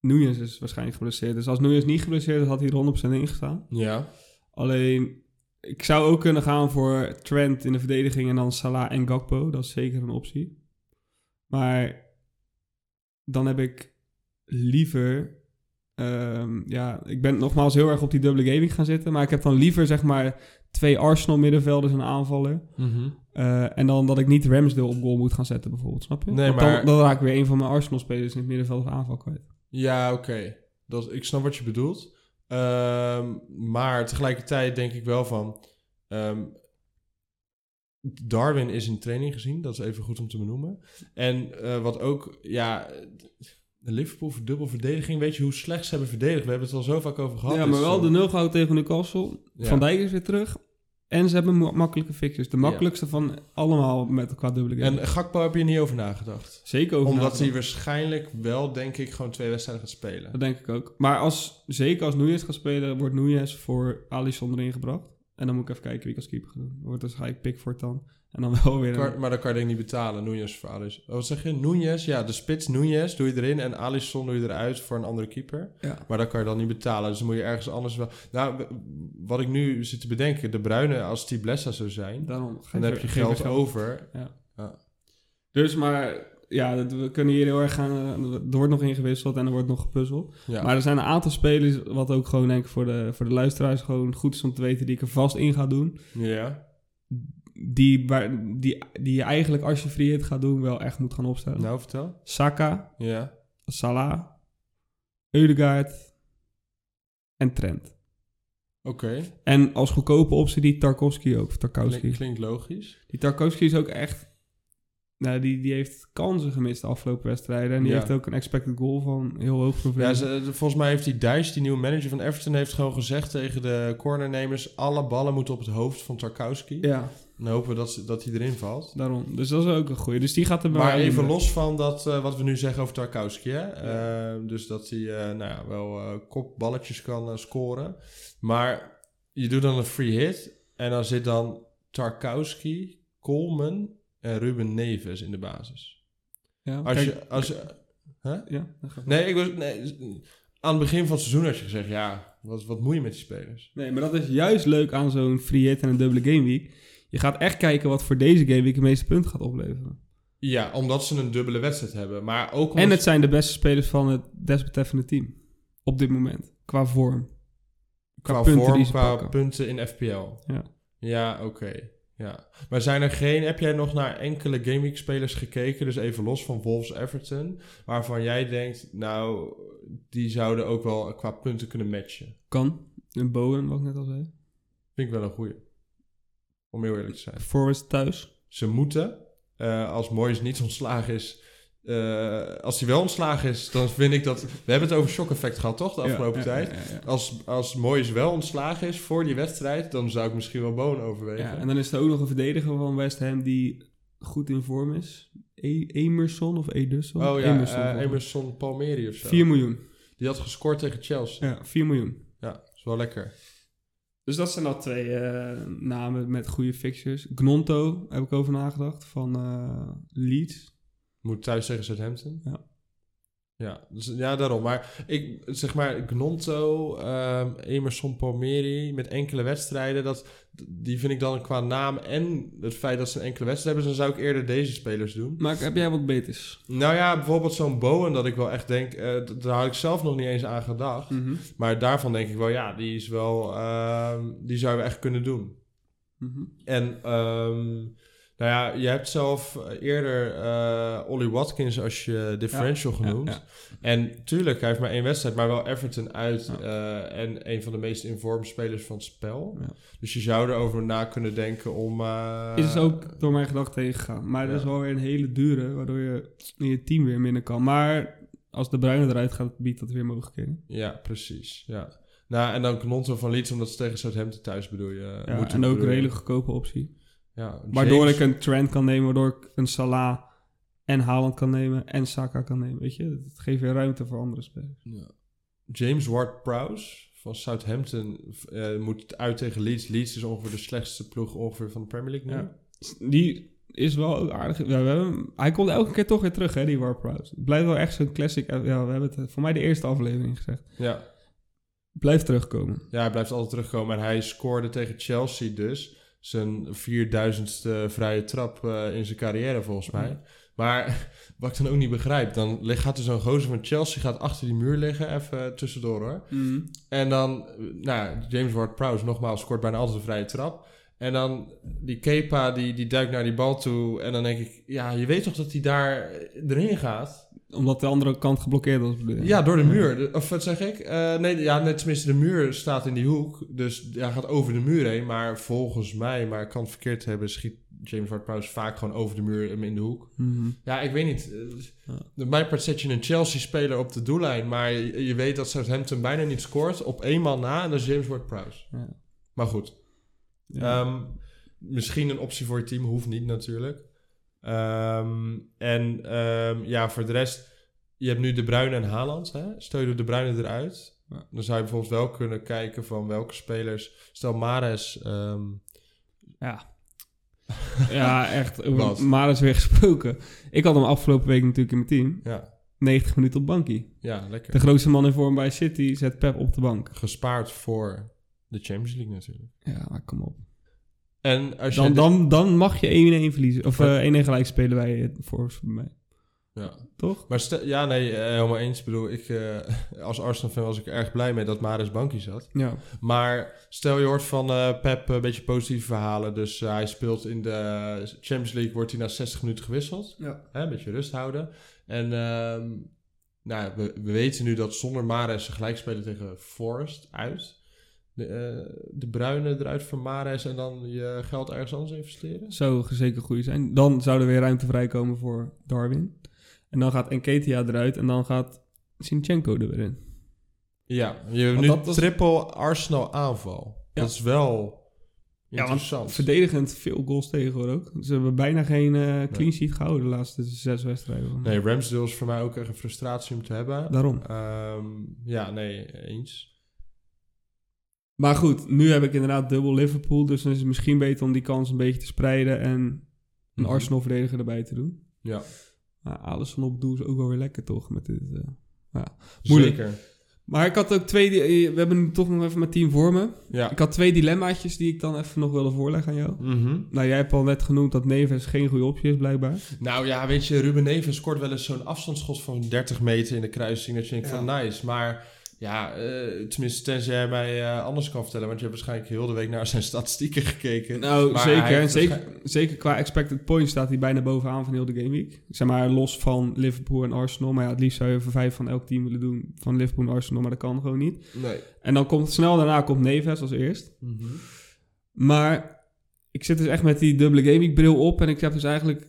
Speaker 2: Nunez is waarschijnlijk geblesseerd. Dus als Nunez niet geblesseerd is, had hij er 100% in gestaan.
Speaker 1: Ja.
Speaker 2: Alleen Ik zou ook kunnen gaan voor Trent in de verdediging en dan Salah en Gakpo. Dat is zeker een optie. Maar dan heb ik liever... ehm, ja, ik ben nogmaals heel erg op die dubbele gaming gaan zitten. Maar ik heb dan liever zeg maar twee Arsenal middenvelders en een aanvaller. Eh, en dan dat ik niet Ramsdale op goal moet gaan zetten bijvoorbeeld, snap je?
Speaker 1: Nee,
Speaker 2: Want dan-
Speaker 1: maar-
Speaker 2: dan, raak ik weer een van mijn Arsenal-spelers in het middenveld of aanval kwijt.
Speaker 1: Ja, oké. Dat- Ik snap wat je bedoelt. Ehm, maar tegelijkertijd denk ik wel van... ehm, Darwin is in training gezien. Dat is even goed om te benoemen. En eh, wat ook... Ja, eh, Liverpool voor dubbel verdediging. Weet je hoe slecht ze hebben verdedigd? We hebben het al zo vaak over gehad.
Speaker 2: ja, maar
Speaker 1: Dus,
Speaker 2: wel
Speaker 1: eh,
Speaker 2: de 0 gehouden tegen Newcastle.
Speaker 1: ja.
Speaker 2: Van Dijk is weer terug. En ze hebben ma- makkelijke fixes. De makkelijkste van allemaal met qua dubbele game.
Speaker 1: En Gakpo heb je niet over nagedacht.
Speaker 2: zeker over
Speaker 1: Omdat
Speaker 2: nagedacht.
Speaker 1: hij waarschijnlijk wel, denk ik, gewoon twee wedstrijden gaat spelen.
Speaker 2: Dat denk ik ook. Maar als, zeker als Nunez gaat spelen, wordt Nunez voor Alisson erin gebracht. En dan moet ik even kijken wie ik als keeper ga doen. Dan Wordt dus waarschijnlijk Pickford dan. En dan wel weer...
Speaker 1: Kan- maar dan kan je denk ik niet betalen, Nunez voor Alice. Oh, Wat zeg je? Nunez, ja, de spits Nunez doe je erin en Alisson doe je eruit voor een andere keeper.
Speaker 2: Ja.
Speaker 1: Maar dat kan je dan niet betalen, dus dan moet je ergens anders wel... Nou, w- wat ik nu zit te bedenken, de Bruine, als die Blessa zou zijn,
Speaker 2: Daarom
Speaker 1: dan heb je geld, over.
Speaker 2: Dus, maar ja, dat, we kunnen hier heel erg gaan. eh, Er wordt nog ingewisseld en er wordt nog gepuzzeld.
Speaker 1: Ja.
Speaker 2: Maar er zijn een aantal spelers, wat ook gewoon denk ik voor de, voor de luisteraars gewoon goed is om te weten, die ik er vast in ga doen.
Speaker 1: ja.
Speaker 2: Die, waar, die, die je eigenlijk als je free hit gaat doen, wel echt moet gaan opstellen.
Speaker 1: Nou, vertel.
Speaker 2: Saka,
Speaker 1: Ja.
Speaker 2: Salah, Eudegaard en Trent.
Speaker 1: Oké,
Speaker 2: En als goedkope optie die Tarkovsky ook, of
Speaker 1: Klink-
Speaker 2: Tarkowski.
Speaker 1: klinkt logisch.
Speaker 2: Die Tarkowski is ook echt... Nou, die, die heeft kansen gemist de afgelopen wedstrijden. En die
Speaker 1: Ja.
Speaker 2: heeft ook een expected goal van heel hoog probleem.
Speaker 1: Ja, ze- volgens mij heeft die Dijs, die nieuwe manager van Everton, heeft gewoon gezegd tegen de cornernemers... alle ballen moeten op het hoofd van Tarkowski.
Speaker 2: Ja,
Speaker 1: En dan hopen we dat, ze- dat hij erin valt.
Speaker 2: daarom. Dus dat is ook een goeie. Dus die gaat er
Speaker 1: Maar
Speaker 2: bij-
Speaker 1: even los van dat, eh, wat we nu zeggen over Tarkowski. Hè? Eh, dus dat hij eh, nou ja, wel eh, kopballetjes kan eh, scoren. Maar je doet dan een free hit. En dan zit dan Tarkowski, Coleman en Ruben Neves in de basis.
Speaker 2: Ja,
Speaker 1: Als
Speaker 2: kijk,
Speaker 1: je, als je-
Speaker 2: ja, dan gaat-
Speaker 1: nee, ik was, nee, aan het begin van het seizoen had je gezegd... Ja, wat, wat moet je met die spelers?
Speaker 2: nee, maar dat is juist leuk aan zo'n free hit en een dubbele gameweek. Je gaat echt kijken wat voor deze gameweek het meeste punten gaat opleveren.
Speaker 1: Ja, omdat ze een dubbele wedstrijd hebben. Maar ook omdat
Speaker 2: En het zijn de beste spelers van het desbetreffende team. Op dit moment. Qua vorm.
Speaker 1: Qua,
Speaker 2: punten
Speaker 1: vorm,
Speaker 2: die ze
Speaker 1: qua
Speaker 2: pakken.
Speaker 1: punten in FPL.
Speaker 2: Ja.
Speaker 1: Ja, oké. Ja. Maar zijn er geen... Heb jij nog naar enkele Gameweek spelers gekeken? Dus even los van Wolves Everton. Waarvan jij denkt, nou... Die zouden ook wel qua punten kunnen matchen.
Speaker 2: Kan. En Bowen, wat ik net al zei.
Speaker 1: Vind ik wel een goeie. Om heel eerlijk te zijn.
Speaker 2: Forwards thuis.
Speaker 1: Ze moeten... eh, als Moyes niet ontslagen is... eh, als hij wel ontslagen is, dan vind ik dat... We hebben het over shock effect gehad, toch? De afgelopen
Speaker 2: Ja, ja,
Speaker 1: tijd.
Speaker 2: ja, ja, ja.
Speaker 1: Als, als Moyes wel ontslagen is voor die wedstrijd... dan zou ik misschien wel Boon overwegen.
Speaker 2: Ja, en dan is er ook nog een verdediger van West Ham die goed in vorm is. E- Emerson of Ederson?
Speaker 1: Oh ja,
Speaker 2: Emerson.
Speaker 1: Emerson,
Speaker 2: volgens mij.
Speaker 1: Emerson Palmieri of zo.
Speaker 2: 4 miljoen.
Speaker 1: Die had gescoord tegen Chelsea.
Speaker 2: Ja, 4 miljoen.
Speaker 1: Ja, is wel lekker.
Speaker 2: Dus dat zijn al twee eh, namen met goede fixtures. Gnonto heb ik over nagedacht van eh, Leeds.
Speaker 1: Moet thuis tegen Southampton.
Speaker 2: Ja.
Speaker 1: Ja, dus, ja, daarom. Maar ik zeg maar, Gnonto, ehm, Emerson Palmieri met enkele wedstrijden. Dat, die vind ik dan qua naam en het feit dat ze een enkele wedstrijd hebben. Dus dan zou ik eerder deze spelers doen.
Speaker 2: Maar heb jij wat beters?
Speaker 1: Nou ja, bijvoorbeeld zo'n Bowen dat ik wel echt denk. eh, d- daar had ik zelf nog niet eens aan gedacht.
Speaker 2: Mhm.
Speaker 1: Maar daarvan denk ik wel, ja, die is wel. ehm, die zouden we echt kunnen doen.
Speaker 2: Mhm.
Speaker 1: En ehm, nou ja, je hebt zelf eerder eh Ollie Watkins als je differential
Speaker 2: ja,
Speaker 1: genoemd.
Speaker 2: ja.
Speaker 1: En tuurlijk, hij heeft maar één wedstrijd, maar wel Everton uit.
Speaker 2: Ja.
Speaker 1: eh, en een van de meest informed spelers van het spel.
Speaker 2: Ja.
Speaker 1: Dus je zou erover na kunnen denken om... eh,
Speaker 2: Is dus ook door mijn gedachten tegengegaan. Maar dat is
Speaker 1: ja.
Speaker 2: wel weer een hele dure, waardoor je in je team weer minder kan. Maar als de bruine eruit gaat, biedt dat weer mogelijkheden.
Speaker 1: Ja, precies. Ja. Nou, en dan Knonto van Leeds, omdat ze tegen Southampton thuis bedoel je. moeten
Speaker 2: Ja, en ook een
Speaker 1: bedoelen.
Speaker 2: hele goedkope optie.
Speaker 1: Ja,
Speaker 2: Waardoor
Speaker 1: James-
Speaker 2: ik een trend kan nemen, waardoor ik een Salah en Haaland kan nemen en Saka kan nemen. Weet je, het geeft weer ruimte voor andere spelers.
Speaker 1: James Ward-Prowse van Southampton eh, moet uit tegen Leeds. Leeds is ongeveer de slechtste ploeg ongeveer van de Premier League nu.
Speaker 2: Ja. Die is wel ook aardig. Ja, we hebben, hem- hij komt elke keer toch weer terug, hè, die eh, Warprouse. Het blijft wel echt zo'n classic. Ja, we hebben het eh, voor mij de eerste aflevering gezegd.
Speaker 1: Ja.
Speaker 2: blijft terugkomen.
Speaker 1: Ja, hij blijft altijd terugkomen. En hij scoorde tegen Chelsea dus zijn 4000ste vrije trap eh, in zijn carrière volgens mij. Maar [LAUGHS] wat ik dan ook niet begrijp, dan lig- gaat er zo'n gozer van Chelsea gaat achter die muur liggen, even tussendoor hoor. En dan, eh, nou, James Ward-Prowse nogmaals scoort bijna altijd een vrije trap. En dan die Kepa, die, die duikt naar die bal toe. En dan denk ik, ja, je weet toch dat hij daar erin gaat?
Speaker 2: Omdat de andere kant geblokkeerd was. bedoel je?
Speaker 1: Ja, door de muur. De- Of wat zeg ik? Eh, nee, ja, net tenminste, de muur staat in die hoek. Dus ja, gaat over de muur heen. Maar volgens mij, maar ik kan het verkeerd hebben, schiet James Ward-Prowse vaak gewoon over de muur hem in de hoek.
Speaker 2: Mhm.
Speaker 1: Ja, ik weet niet. Eh,
Speaker 2: Ja.
Speaker 1: Op mijn part zet je een Chelsea-speler op de doellijn. Maar je, je weet dat Southampton bijna niet scoort. Op één man na, en dat is James Ward-Prowse.
Speaker 2: Ja.
Speaker 1: Maar goed.
Speaker 2: Ja.
Speaker 1: Ehm, misschien een optie voor je team, hoeft niet natuurlijk. Ehm, en ehm, ja, voor de rest, je hebt nu De Bruyne en Haaland. Hè? Stel je doet De Bruyne eruit.
Speaker 2: Ja.
Speaker 1: Dan zou je bijvoorbeeld wel kunnen kijken van welke spelers... Stel Mares, ehm,
Speaker 2: [LAUGHS] Ja, echt.
Speaker 1: [LAUGHS] Wat?
Speaker 2: Maar is weer gesproken. Ik had hem afgelopen week natuurlijk in mijn team.
Speaker 1: ja,
Speaker 2: 90 minuten op bankie.
Speaker 1: ja, lekker.
Speaker 2: De grootste man in vorm bij City zet Pep op de bank.
Speaker 1: Gespaard voor de Champions League natuurlijk.
Speaker 2: Ja, maar kom op.
Speaker 1: En als je...
Speaker 2: Dan,
Speaker 1: de-
Speaker 2: dan, dan mag je 1-1 verliezen. Of
Speaker 1: Ja.
Speaker 2: eh, 1-1 gelijk spelen wij het voor bij mij.
Speaker 1: Ja.
Speaker 2: Toch?
Speaker 1: Maar stel- ja, nee, eh, helemaal eens. Ik bedoel, ik, eh, als Arsenal-fan was ik erg blij mee dat Maris Bankie zat.
Speaker 2: Ja.
Speaker 1: Maar stel je hoort van eh, Pep een beetje positieve verhalen. Dus eh, hij speelt in de Champions League, wordt hij na 60 minuten gewisseld.
Speaker 2: Ja.
Speaker 1: Hè, een beetje rust houden. En ehm, nou, we, we weten nu dat zonder Mares ze gelijk spelen tegen Forest uit. De, eh, de bruine eruit van Mares en dan je geld ergens anders investeren.
Speaker 2: Zou zeker goed zijn. Dan zou er weer ruimte vrijkomen voor Darwin. En dan gaat Enketia eruit en dan gaat Sinchenko er weer in.
Speaker 1: Ja, je hebt nu
Speaker 2: Want dat was-
Speaker 1: triple Arsenal aanval.
Speaker 2: Ja.
Speaker 1: Dat is wel
Speaker 2: want
Speaker 1: interessant.
Speaker 2: Verdedigend veel goals tegen hoor ook. Ze hebben bijna geen eh, clean sheet gehouden de laatste zes wedstrijden.
Speaker 1: nee, Ramsdale is voor mij ook echt een frustratie om te hebben.
Speaker 2: Daarom.
Speaker 1: Ehm, ja, nee, eens.
Speaker 2: Maar goed, nu heb ik inderdaad dubbel Liverpool. Dus dan is het misschien beter om die kans een beetje te spreiden en een
Speaker 1: Mhm.
Speaker 2: Arsenal-verdediger erbij te doen.
Speaker 1: Ja,
Speaker 2: Maar Alisson op doel is ook wel weer lekker toch met dit... eh. Moeilijk.
Speaker 1: zeker.
Speaker 2: Maar ik had ook twee... di- eh, We hebben nu toch nog even mijn team voor me.
Speaker 1: Ja.
Speaker 2: Ik had twee dilemmaatjes die ik dan even nog wilde voorleggen aan jou.
Speaker 1: Mhm.
Speaker 2: Nou, jij hebt al net genoemd dat Neves geen goede optie is, blijkbaar.
Speaker 1: Nou ja, weet je, Ruben Neven scoort wel eens zo'n afstandsschot van 30 meter in de kruising. Dat je denkt van nice, maar ja, eh, tenminste tenzij jij mij eh, anders kan vertellen. Want je hebt waarschijnlijk heel de week naar zijn statistieken gekeken.
Speaker 2: Nou,
Speaker 1: Maar hij
Speaker 2: zeker. En
Speaker 1: heeft
Speaker 2: zeker, zeker qua expected points staat hij bijna bovenaan van heel de Game Week. Zeg maar los van Liverpool en Arsenal. Maar ja, het liefst zou je voor vijf van elk team willen doen van Liverpool en Arsenal. Maar dat kan gewoon niet.
Speaker 1: Nee.
Speaker 2: En dan komt snel daarna komt Neves als eerst. Maar ik zit dus echt met die dubbele gaming bril op. En ik heb dus eigenlijk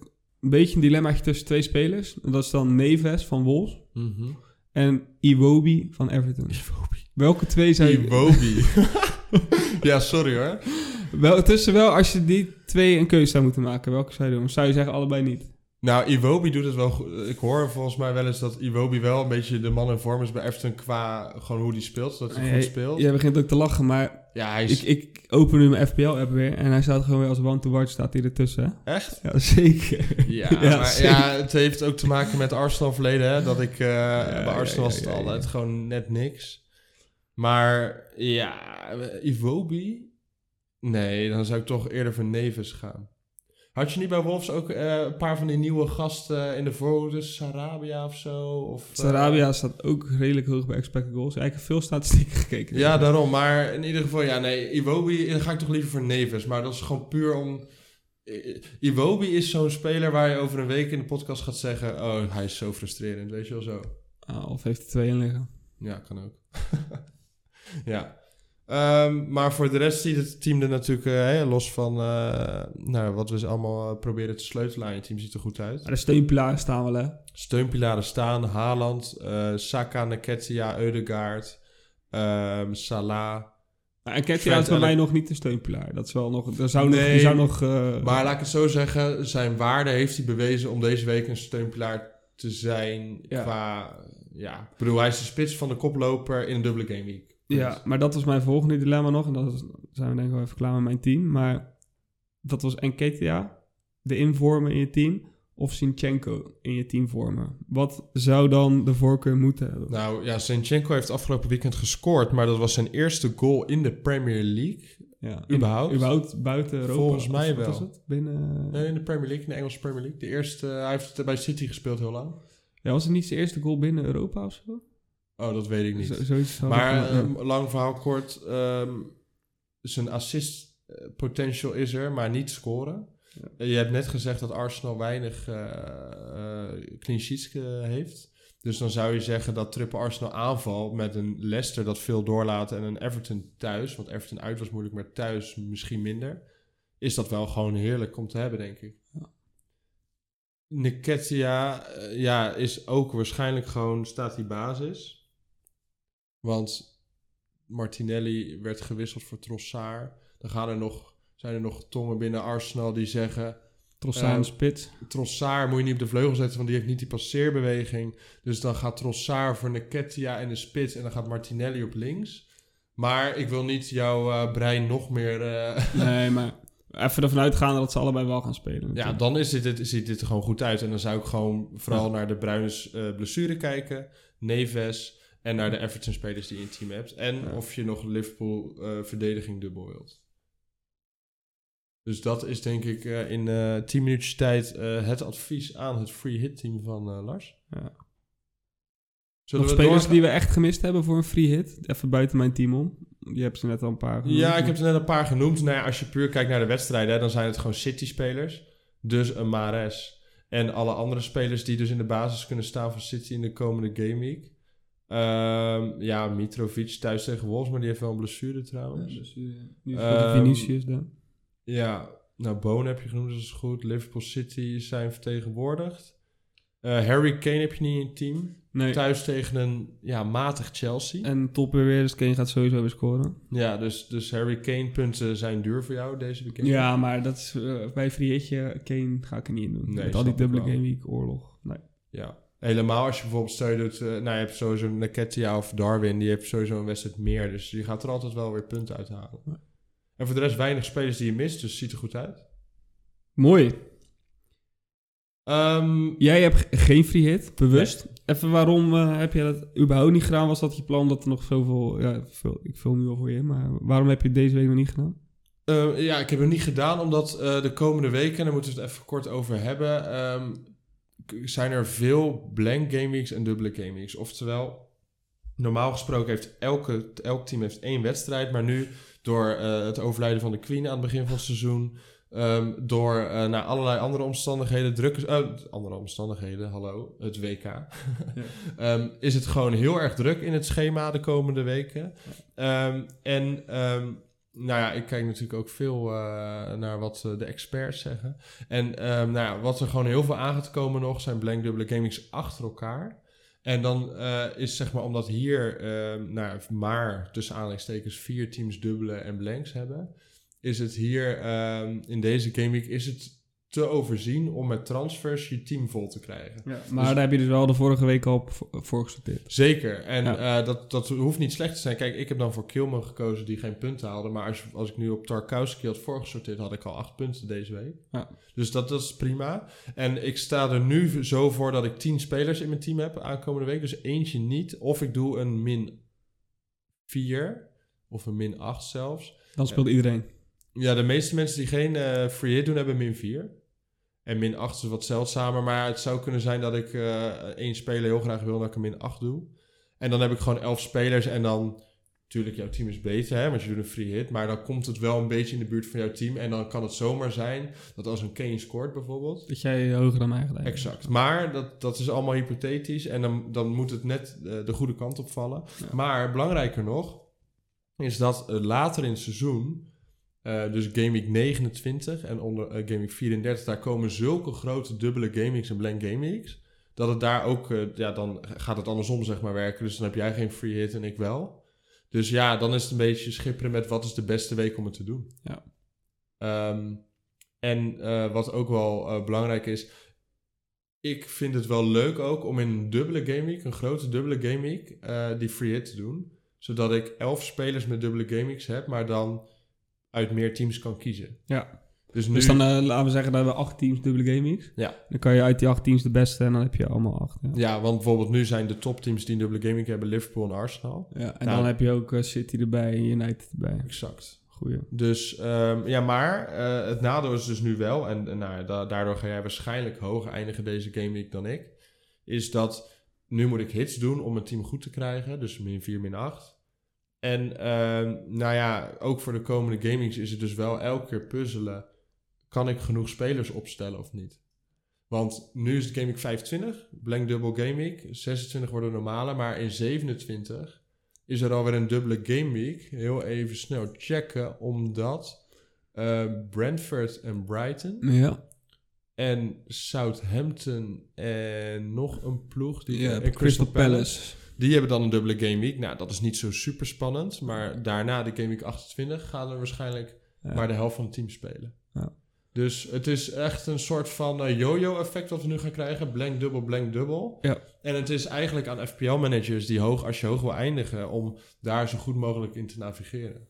Speaker 2: een beetje een dilemmaatje tussen twee spelers. En dat is dan Neves van Wolves
Speaker 1: Mhm.
Speaker 2: en Iwobi van Everton. Welke twee zijn...
Speaker 1: [LAUGHS] Iwobi. ja, sorry hoor.
Speaker 2: Wel, tussen wel, als je die twee een keuze zou moeten maken, welke zou je doen? Zou je zeggen allebei niet?
Speaker 1: Nou, Iwobi doet het wel goed. Ik hoor volgens mij wel eens dat Iwobi wel een beetje de man in vorm is bij Everton qua gewoon hoe die speelt. Dat hij
Speaker 2: Nee,
Speaker 1: goed speelt. Ja,
Speaker 2: Jij begint ook te lachen, maar
Speaker 1: hij
Speaker 2: ik,
Speaker 1: is...
Speaker 2: ik open nu mijn FPL-app weer en hij staat gewoon weer als one-to-watch staat hij ertussen. hè?
Speaker 1: Echt?
Speaker 2: Ja, zeker.
Speaker 1: [LAUGHS]
Speaker 2: [LAUGHS]
Speaker 1: Ja, eh,
Speaker 2: Ja,
Speaker 1: maar
Speaker 2: zeker.
Speaker 1: ja, het heeft ook te maken met Arsenal verleden. Hè? Dat ik eh, bij
Speaker 2: ja,
Speaker 1: Arsenal was
Speaker 2: ja,
Speaker 1: het
Speaker 2: ja.
Speaker 1: altijd gewoon net niks. Maar ja, Iwobi? Nee, dan zou ik toch eerder voor Neves gaan. Had je niet bij Wolves ook eh, een paar van die nieuwe gasten in de voorhoede? Sarabia of zo? Of, eh,
Speaker 2: Sarabia staat ook redelijk hoog bij expected goals. Ja, ik heb veel statistieken gekeken.
Speaker 1: Ja, daarom. Maar in ieder geval, ja, nee, Iwobi eh, dan ga ik toch liever voor Neves. Maar dat is gewoon puur om... I- Iwobi is zo'n speler waar je over een week in de podcast gaat zeggen... Oh, hij is zo frustrerend, weet je wel zo.
Speaker 2: Ah, of heeft er twee in liggen.
Speaker 1: Ja, kan ook. [LAUGHS] ja. Ehm, maar voor de rest ziet het team er natuurlijk, eh, hè, los van eh, nou, wat we ze allemaal eh, proberen te sleutelen aan je team, ziet er goed uit.
Speaker 2: Maar de steunpilaren staan wel, hè?
Speaker 1: Steunpilaren staan, Haaland, eh, Saka, Nketiah, Eudegaard, ehm, Salah.
Speaker 2: Maar En Ketja
Speaker 1: Trent
Speaker 2: is bij mij
Speaker 1: Allen-
Speaker 2: nog niet een steunpilaar. Dat is wel nog... Daar zou nog...
Speaker 1: Nee,
Speaker 2: Die zou nog eh,
Speaker 1: Maar laat ik het zo zeggen, zijn waarde heeft hij bewezen om deze week een steunpilaar te zijn
Speaker 2: Ja.
Speaker 1: qua... Ja, ik bedoel, hij is de spits van de koploper in een dubbele game week. Dus,
Speaker 2: Ja, maar dat was mijn volgende dilemma nog. En dan zijn we denk ik wel even klaar met mijn team. Maar dat was Enketia, de invormen in je team. of Sinchenko in je team vormen? Wat zou dan de voorkeur moeten hebben?
Speaker 1: Nou ja, Zinchenko heeft afgelopen weekend gescoord, maar dat was zijn eerste goal in de Premier League.
Speaker 2: ja.
Speaker 1: Nou, überhaupt?
Speaker 2: In- überhaupt buiten Europa?
Speaker 1: Volgens mij
Speaker 2: Of wat
Speaker 1: wel.
Speaker 2: is het? Binnen...
Speaker 1: Nee, in de Premier League, in de Engelse Premier League. De eerste, eh, hij heeft bij City gespeeld heel lang.
Speaker 2: Ja, was het niet zijn eerste goal binnen Europa of zo?
Speaker 1: Oh, dat weet ik niet.
Speaker 2: Zo- zoiets had
Speaker 1: maar
Speaker 2: ik- eh, ja.
Speaker 1: ehm, lang verhaal kort, ehm, zijn assist eh, potential is er, maar niet scoren.
Speaker 2: Ja.
Speaker 1: Eh, Je hebt net gezegd dat Arsenal weinig eh, eh, clean sheets eh, heeft. Dus dan zou je zeggen dat triple Arsenal aanval met een Leicester dat veel doorlaat en een Everton thuis, want Everton uit was moeilijk, maar thuis misschien minder, is dat wel gewoon heerlijk om te hebben, denk ik. Niketia eh, ja, is ook waarschijnlijk gewoon, staat die basis. Want Martinelli werd gewisseld voor Trossard. Dan gaan er nog, zijn er nog tongen binnen Arsenal die zeggen...
Speaker 2: Trossard
Speaker 1: ehm,
Speaker 2: spits.
Speaker 1: Trossard moet je niet op de vleugel zetten, want die heeft niet die passeerbeweging. Dus dan gaat Trossard voor Niketia in de spits en dan gaat Martinelli op links. Maar ik wil niet jouw eh, brein nog meer... eh, [LAUGHS]
Speaker 2: Nee, maar even ervan uitgaan dat ze allebei wel gaan spelen.
Speaker 1: Ja, dan is dit, dit- ziet dit er gewoon goed uit. En dan zou ik gewoon vooral naar de Bruins eh, blessure kijken. Neves. En naar de Everton-spelers die je in het team hebt. En
Speaker 2: Ja.
Speaker 1: of je nog Liverpool-verdediging dubbel wilt. Dus dat is denk ik eh, in eh 10 minuutjes tijd eh, het advies aan het free hit team van eh, Lars.
Speaker 2: Ja.
Speaker 1: Zullen
Speaker 2: Nog
Speaker 1: we
Speaker 2: spelers
Speaker 1: doorgaan?
Speaker 2: die we echt gemist hebben voor een free hit. Even buiten mijn team om. Je hebt ze net al een paar genoemd.
Speaker 1: Ja, ik heb er net een paar genoemd. Nou ja, als je puur kijkt naar de wedstrijden, hè, dan zijn het gewoon City-spelers. Dus een Mares. En alle andere spelers die dus in de basis kunnen staan van City in de komende Game Week. Ehm, ja, Mitrovic thuis tegen Wolves, maar die heeft wel een blessure trouwens. Ja,
Speaker 2: Nu
Speaker 1: speelt Ehm, Vinicius
Speaker 2: Vinicius dan.
Speaker 1: nou, Boon heb je genoemd, dat is goed. Liverpool City zijn vertegenwoordigd. Eh, Harry Kane heb je niet in het team.
Speaker 2: Nee.
Speaker 1: Thuis tegen een ja, matig Chelsea.
Speaker 2: En topbeweer, dus Kane gaat sowieso weer scoren.
Speaker 1: Ja, dus, dus Harry Kane punten zijn duur voor jou deze weekend.
Speaker 2: Ja, maar dat is, eh, bij free hitje, Kane ga ik er niet in doen.
Speaker 1: Nee,
Speaker 2: Met al
Speaker 1: snap
Speaker 2: die
Speaker 1: ik
Speaker 2: dubbele
Speaker 1: wel.
Speaker 2: game week oorlog. Nee.
Speaker 1: Ja. Helemaal als je bijvoorbeeld steun doet... eh, nou, je hebt sowieso Niketia of Darwin. Die heeft sowieso een wedstrijd meer. Dus je gaat er altijd wel weer punten uithalen.
Speaker 2: Ja.
Speaker 1: En voor de rest weinig spelers die je mist. Dus het ziet er goed uit.
Speaker 2: Mooi.
Speaker 1: Ehm,
Speaker 2: Jij hebt ge- geen free hit, bewust. Even waarom eh, heb je dat überhaupt niet gedaan? Was dat je plan dat er nog zoveel... Ja, veel, ik vul nu al voor je in, maar waarom heb je het deze week nog niet gedaan?
Speaker 1: eh, ja, ik heb hem niet gedaan. Omdat eh, de komende weken... en daar moeten we het even kort over hebben... ehm, k- zijn er veel blank gameweeks en dubbele gameweeks. Oftewel... Normaal gesproken heeft elke, elk team heeft één wedstrijd. Maar nu, door eh, het overlijden van de Queen aan het begin van het seizoen... Ehm, door eh, naar allerlei andere omstandigheden druk is. eh, andere omstandigheden, hallo, het WK. Ehm, is het gewoon heel erg druk in het schema de komende weken. Ehm, en ehm, nou ja, ik kijk natuurlijk ook veel eh, naar wat eh, de experts zeggen. En ehm, nou ja, wat er gewoon heel veel aan gaat komen nog zijn blank dubbele gamings achter elkaar. En dan eh, is zeg maar omdat hier ehm, nou, ja, maar tussen aanhalingstekens vier teams dubbele en blanks hebben is het hier ehm, in deze gameweek is het te overzien om met transfers je team vol te krijgen.
Speaker 2: maar
Speaker 1: Dus-
Speaker 2: daar heb je dus wel de vorige week al op vo- voor gesorteerd.
Speaker 1: Zeker. En eh, dat, dat hoeft niet slecht te zijn. Kijk, ik heb dan voor Kilman gekozen die geen punten haalde. Maar als, als ik nu op Tarkowski had voorgesorteerd, had ik al acht punten deze week.
Speaker 2: Ja.
Speaker 1: Dus dat, dat is prima. En ik sta er nu zo voor dat ik tien spelers in mijn team heb aankomende week. Dus eentje niet. Of ik doe een min 4 of een min 8 zelfs.
Speaker 2: Dan speelt iedereen.
Speaker 1: Ja, de meeste mensen die geen eh, free hit doen, hebben min 4. En min 8 is wat zeldzamer. Maar het zou kunnen zijn dat ik eh één speler heel graag wil dat ik een min 8 doe. En dan heb ik gewoon 11 spelers. En dan, natuurlijk, jouw team is beter, hè, want je doet een free hit. Maar dan komt het wel een beetje in de buurt van jouw team. En dan kan het zomaar zijn dat als een Kane scoort bijvoorbeeld,
Speaker 2: Dat jij hoger dan mij gedaan hebt.
Speaker 1: Exact. Maar dat, dat is allemaal hypothetisch en dan, dan moet het net eh, de goede kant op vallen.
Speaker 2: Ja.
Speaker 1: Maar belangrijker nog is dat eh, later in het seizoen, eh, dus Game Week 29 en onder eh, Game Week 34, daar komen zulke grote dubbele Game Weeks en blank Game Weeks, dat het daar ook, eh, ja, dan gaat het andersom zeg maar werken. Dus dan heb jij geen free hit en ik wel. Dus ja, dan is het een beetje schipperen met wat is de beste week om het te doen.
Speaker 2: Ja.
Speaker 1: Ehm, en eh, wat ook wel eh, belangrijk is, ik vind het wel leuk ook om in een dubbele gameweek, een grote dubbele gameweek, eh die free hit te doen. Zodat ik elf spelers met dubbele gameweeks heb, maar dan uit meer teams kan kiezen.
Speaker 2: Ja.
Speaker 1: Dus nu...
Speaker 2: Dus dan eh, laten we zeggen dat we acht teams dubbele game weeks.
Speaker 1: Ja.
Speaker 2: Dan kan je uit die acht teams de beste en dan heb je allemaal acht. Ja,
Speaker 1: ja, want bijvoorbeeld nu zijn de topteams die een dubbele gaming hebben Liverpool en Arsenal.
Speaker 2: Ja, en
Speaker 1: Nou.
Speaker 2: dan heb je ook eh, City erbij en United erbij.
Speaker 1: Exact.
Speaker 2: Goeie.
Speaker 1: Dus ehm, ja, maar eh, het nadeel is dus nu wel, en, en nou, ja, da- daardoor ga jij waarschijnlijk hoger eindigen deze game week dan ik, is dat nu moet ik hits doen om mijn team goed te krijgen, dus min 4, min 8. En ehm, nou ja, ook voor de komende gamings is het dus wel elke keer puzzelen, kan ik genoeg spelers opstellen of niet? Want nu is het Game Week 25, blank dubbel Game Week, 26 worden normale, maar in 27 is er alweer een dubbele Game Week. Heel even snel checken, omdat eh, Brentford en Brighton
Speaker 2: Ja,
Speaker 1: en Southampton en nog een ploeg, die, eh,
Speaker 2: ja
Speaker 1: en
Speaker 2: Crystal, Palace.
Speaker 1: die hebben dan een dubbele Game Week. Nou, dat is niet zo super spannend, maar daarna de Game Week 28 gaan er waarschijnlijk
Speaker 2: Ja.
Speaker 1: maar de helft van het team spelen.
Speaker 2: Ja.
Speaker 1: Dus het is echt een soort van eh, yo-yo-effect wat we nu gaan krijgen. Blank, dubbel, blank, dubbel.
Speaker 2: Ja.
Speaker 1: En het is eigenlijk aan FPL-managers die hoog, als je hoog wil eindigen, om daar zo goed mogelijk in te navigeren.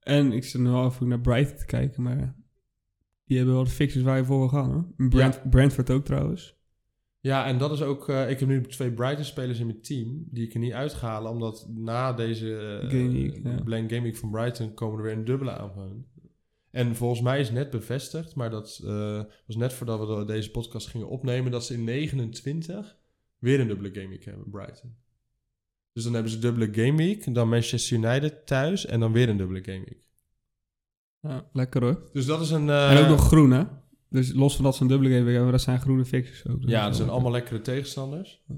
Speaker 2: En ik zit nu al even naar Brighton te kijken, maar die hebben wel de fixes waar je voor wil gaan hoor. Brent, Brentford ook trouwens.
Speaker 1: Ja, en dat is ook... eh, ik heb nu twee Brighton-spelers in mijn team die ik er niet uit ga halen, omdat na deze eh,
Speaker 2: Game Week, ja.
Speaker 1: Blank Game Week van Brighton komen er weer een dubbele aan van hun. En volgens mij is net bevestigd, maar dat eh, was net voordat we deze podcast gingen opnemen, dat ze in 29 weer een dubbele Game Week hebben, Brighton. Dus dan hebben ze dubbele Game Week, dan Manchester United thuis en dan weer een dubbele Game Week.
Speaker 2: Ja, lekker hoor.
Speaker 1: Dus dat is een... eh,
Speaker 2: en ook nog groen hè. Dus los van dat ze een dubbele game hebben, dat zijn groene fixes ook.
Speaker 1: Ja, dat
Speaker 2: is
Speaker 1: zijn
Speaker 2: wel
Speaker 1: allemaal lekkere tegenstanders.
Speaker 2: Ja.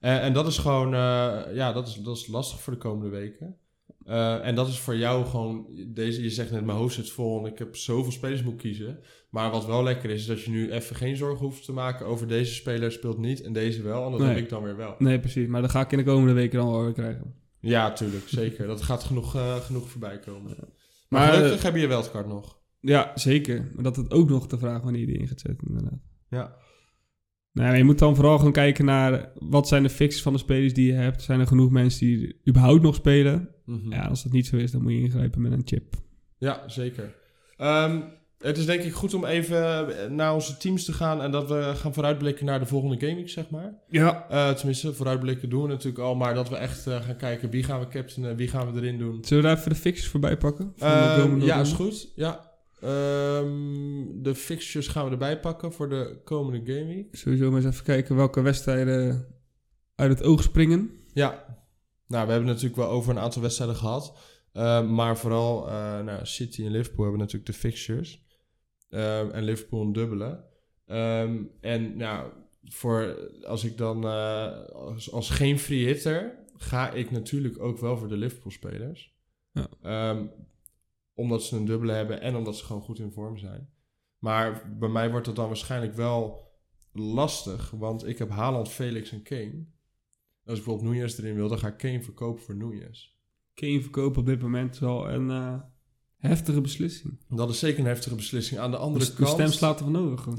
Speaker 1: En, en dat is gewoon, eh, ja, dat is, dat is lastig voor de komende weken. Eh, en dat is voor jou gewoon, deze, je zegt net, mijn hoofd zit vol en ik heb zoveel spelers moet kiezen. Maar wat wel lekker is, is dat je nu even geen zorgen hoeft te maken over deze speler speelt niet en deze wel. En dat
Speaker 2: Nee.
Speaker 1: heb ik dan weer wel.
Speaker 2: lekker. Nee, precies. Maar dat ga ik in de komende weken dan wel weer krijgen.
Speaker 1: Ja, tuurlijk, zeker. Dat gaat genoeg, eh, genoeg voorbij komen. Maar,
Speaker 2: Maar, eh,
Speaker 1: gelukkig heb je wel card nog.
Speaker 2: Ja, zeker. Maar dat het ook nog de vraag wanneer je die in gaat zetten, inderdaad.
Speaker 1: Ja.
Speaker 2: Nou, ja, je moet dan vooral gaan kijken naar wat zijn de fixes van de spelers die je hebt. Zijn er genoeg mensen die überhaupt nog spelen?
Speaker 1: Mhm.
Speaker 2: Ja, als dat niet zo is, dan moet je ingrijpen met een chip.
Speaker 1: Ja, zeker. Ehm, het is denk ik goed om even eh, naar onze teams te gaan en dat we gaan vooruitblikken naar de volgende gaming, zeg maar.
Speaker 2: Ja.
Speaker 1: Eh, tenminste, vooruitblikken doen we natuurlijk al, maar dat we echt eh, gaan kijken wie gaan we captainen, wie gaan we erin doen.
Speaker 2: Zullen we daar even de fixes voorbij pakken? Van de
Speaker 1: Ehm,
Speaker 2: komende
Speaker 1: ja,
Speaker 2: ronde?
Speaker 1: is goed. Ja. Ehm, de fixtures gaan we erbij pakken voor de komende gaming.
Speaker 2: Sowieso maar eens even kijken welke wedstrijden uit het oog springen.
Speaker 1: Ja, nou, we hebben natuurlijk wel over een aantal wedstrijden gehad. Ehm, maar vooral eh, nou, City en Liverpool hebben natuurlijk de fixtures. Ehm, en Liverpool een dubbele. Ehm, en nou, voor, als ik dan eh, als, als geen free hitter ga ik natuurlijk ook wel voor de Liverpool spelers.
Speaker 2: Ja.
Speaker 1: Ehm, omdat ze een dubbele hebben en omdat ze gewoon goed in vorm zijn. Maar bij mij wordt dat dan waarschijnlijk wel lastig. Want ik heb Haaland, Felix en Kane. Als ik bijvoorbeeld Nunez erin wil, dan ga ik Kane verkopen voor Nunez.
Speaker 2: Kane verkopen op dit moment is wel een eh, heftige beslissing.
Speaker 1: Dat is zeker een heftige beslissing. Aan de andere
Speaker 2: Dus de, de
Speaker 1: kant...
Speaker 2: stem
Speaker 1: [LAUGHS]
Speaker 2: slaat er van over. gewoon.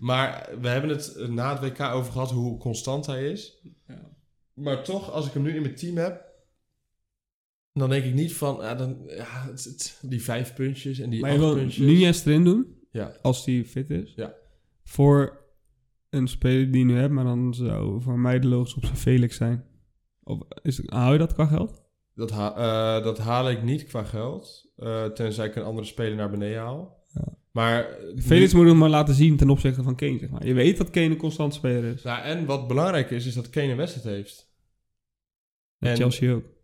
Speaker 1: Maar we hebben het eh, na het WK over gehad hoe constant hij is.
Speaker 2: Ja.
Speaker 1: Maar toch, als ik hem nu in mijn team heb... Dan denk ik niet van... ah, dan, ja, het- het- die vijf puntjes en die
Speaker 2: Maar je
Speaker 1: acht
Speaker 2: wil
Speaker 1: puntjes.
Speaker 2: Nunez erin doen,
Speaker 1: Ja.
Speaker 2: als die fit is.
Speaker 1: Ja.
Speaker 2: Voor een speler die je nu hebt, maar dan zou voor mij de logische optie Felix zijn. Of is, hou je dat qua geld?
Speaker 1: Dat, ha- eh, dat haal ik niet qua geld. eh, tenzij ik een andere speler naar beneden haal.
Speaker 2: Ja.
Speaker 1: Maar eh,
Speaker 2: Felix moet hem maar laten zien ten opzichte van Kane, zeg maar. Je weet dat Kane een constant speler is.
Speaker 1: Nou, en wat belangrijk is, is dat Kane een wedstrijd heeft.
Speaker 2: En
Speaker 1: En-
Speaker 2: Chelsea ook.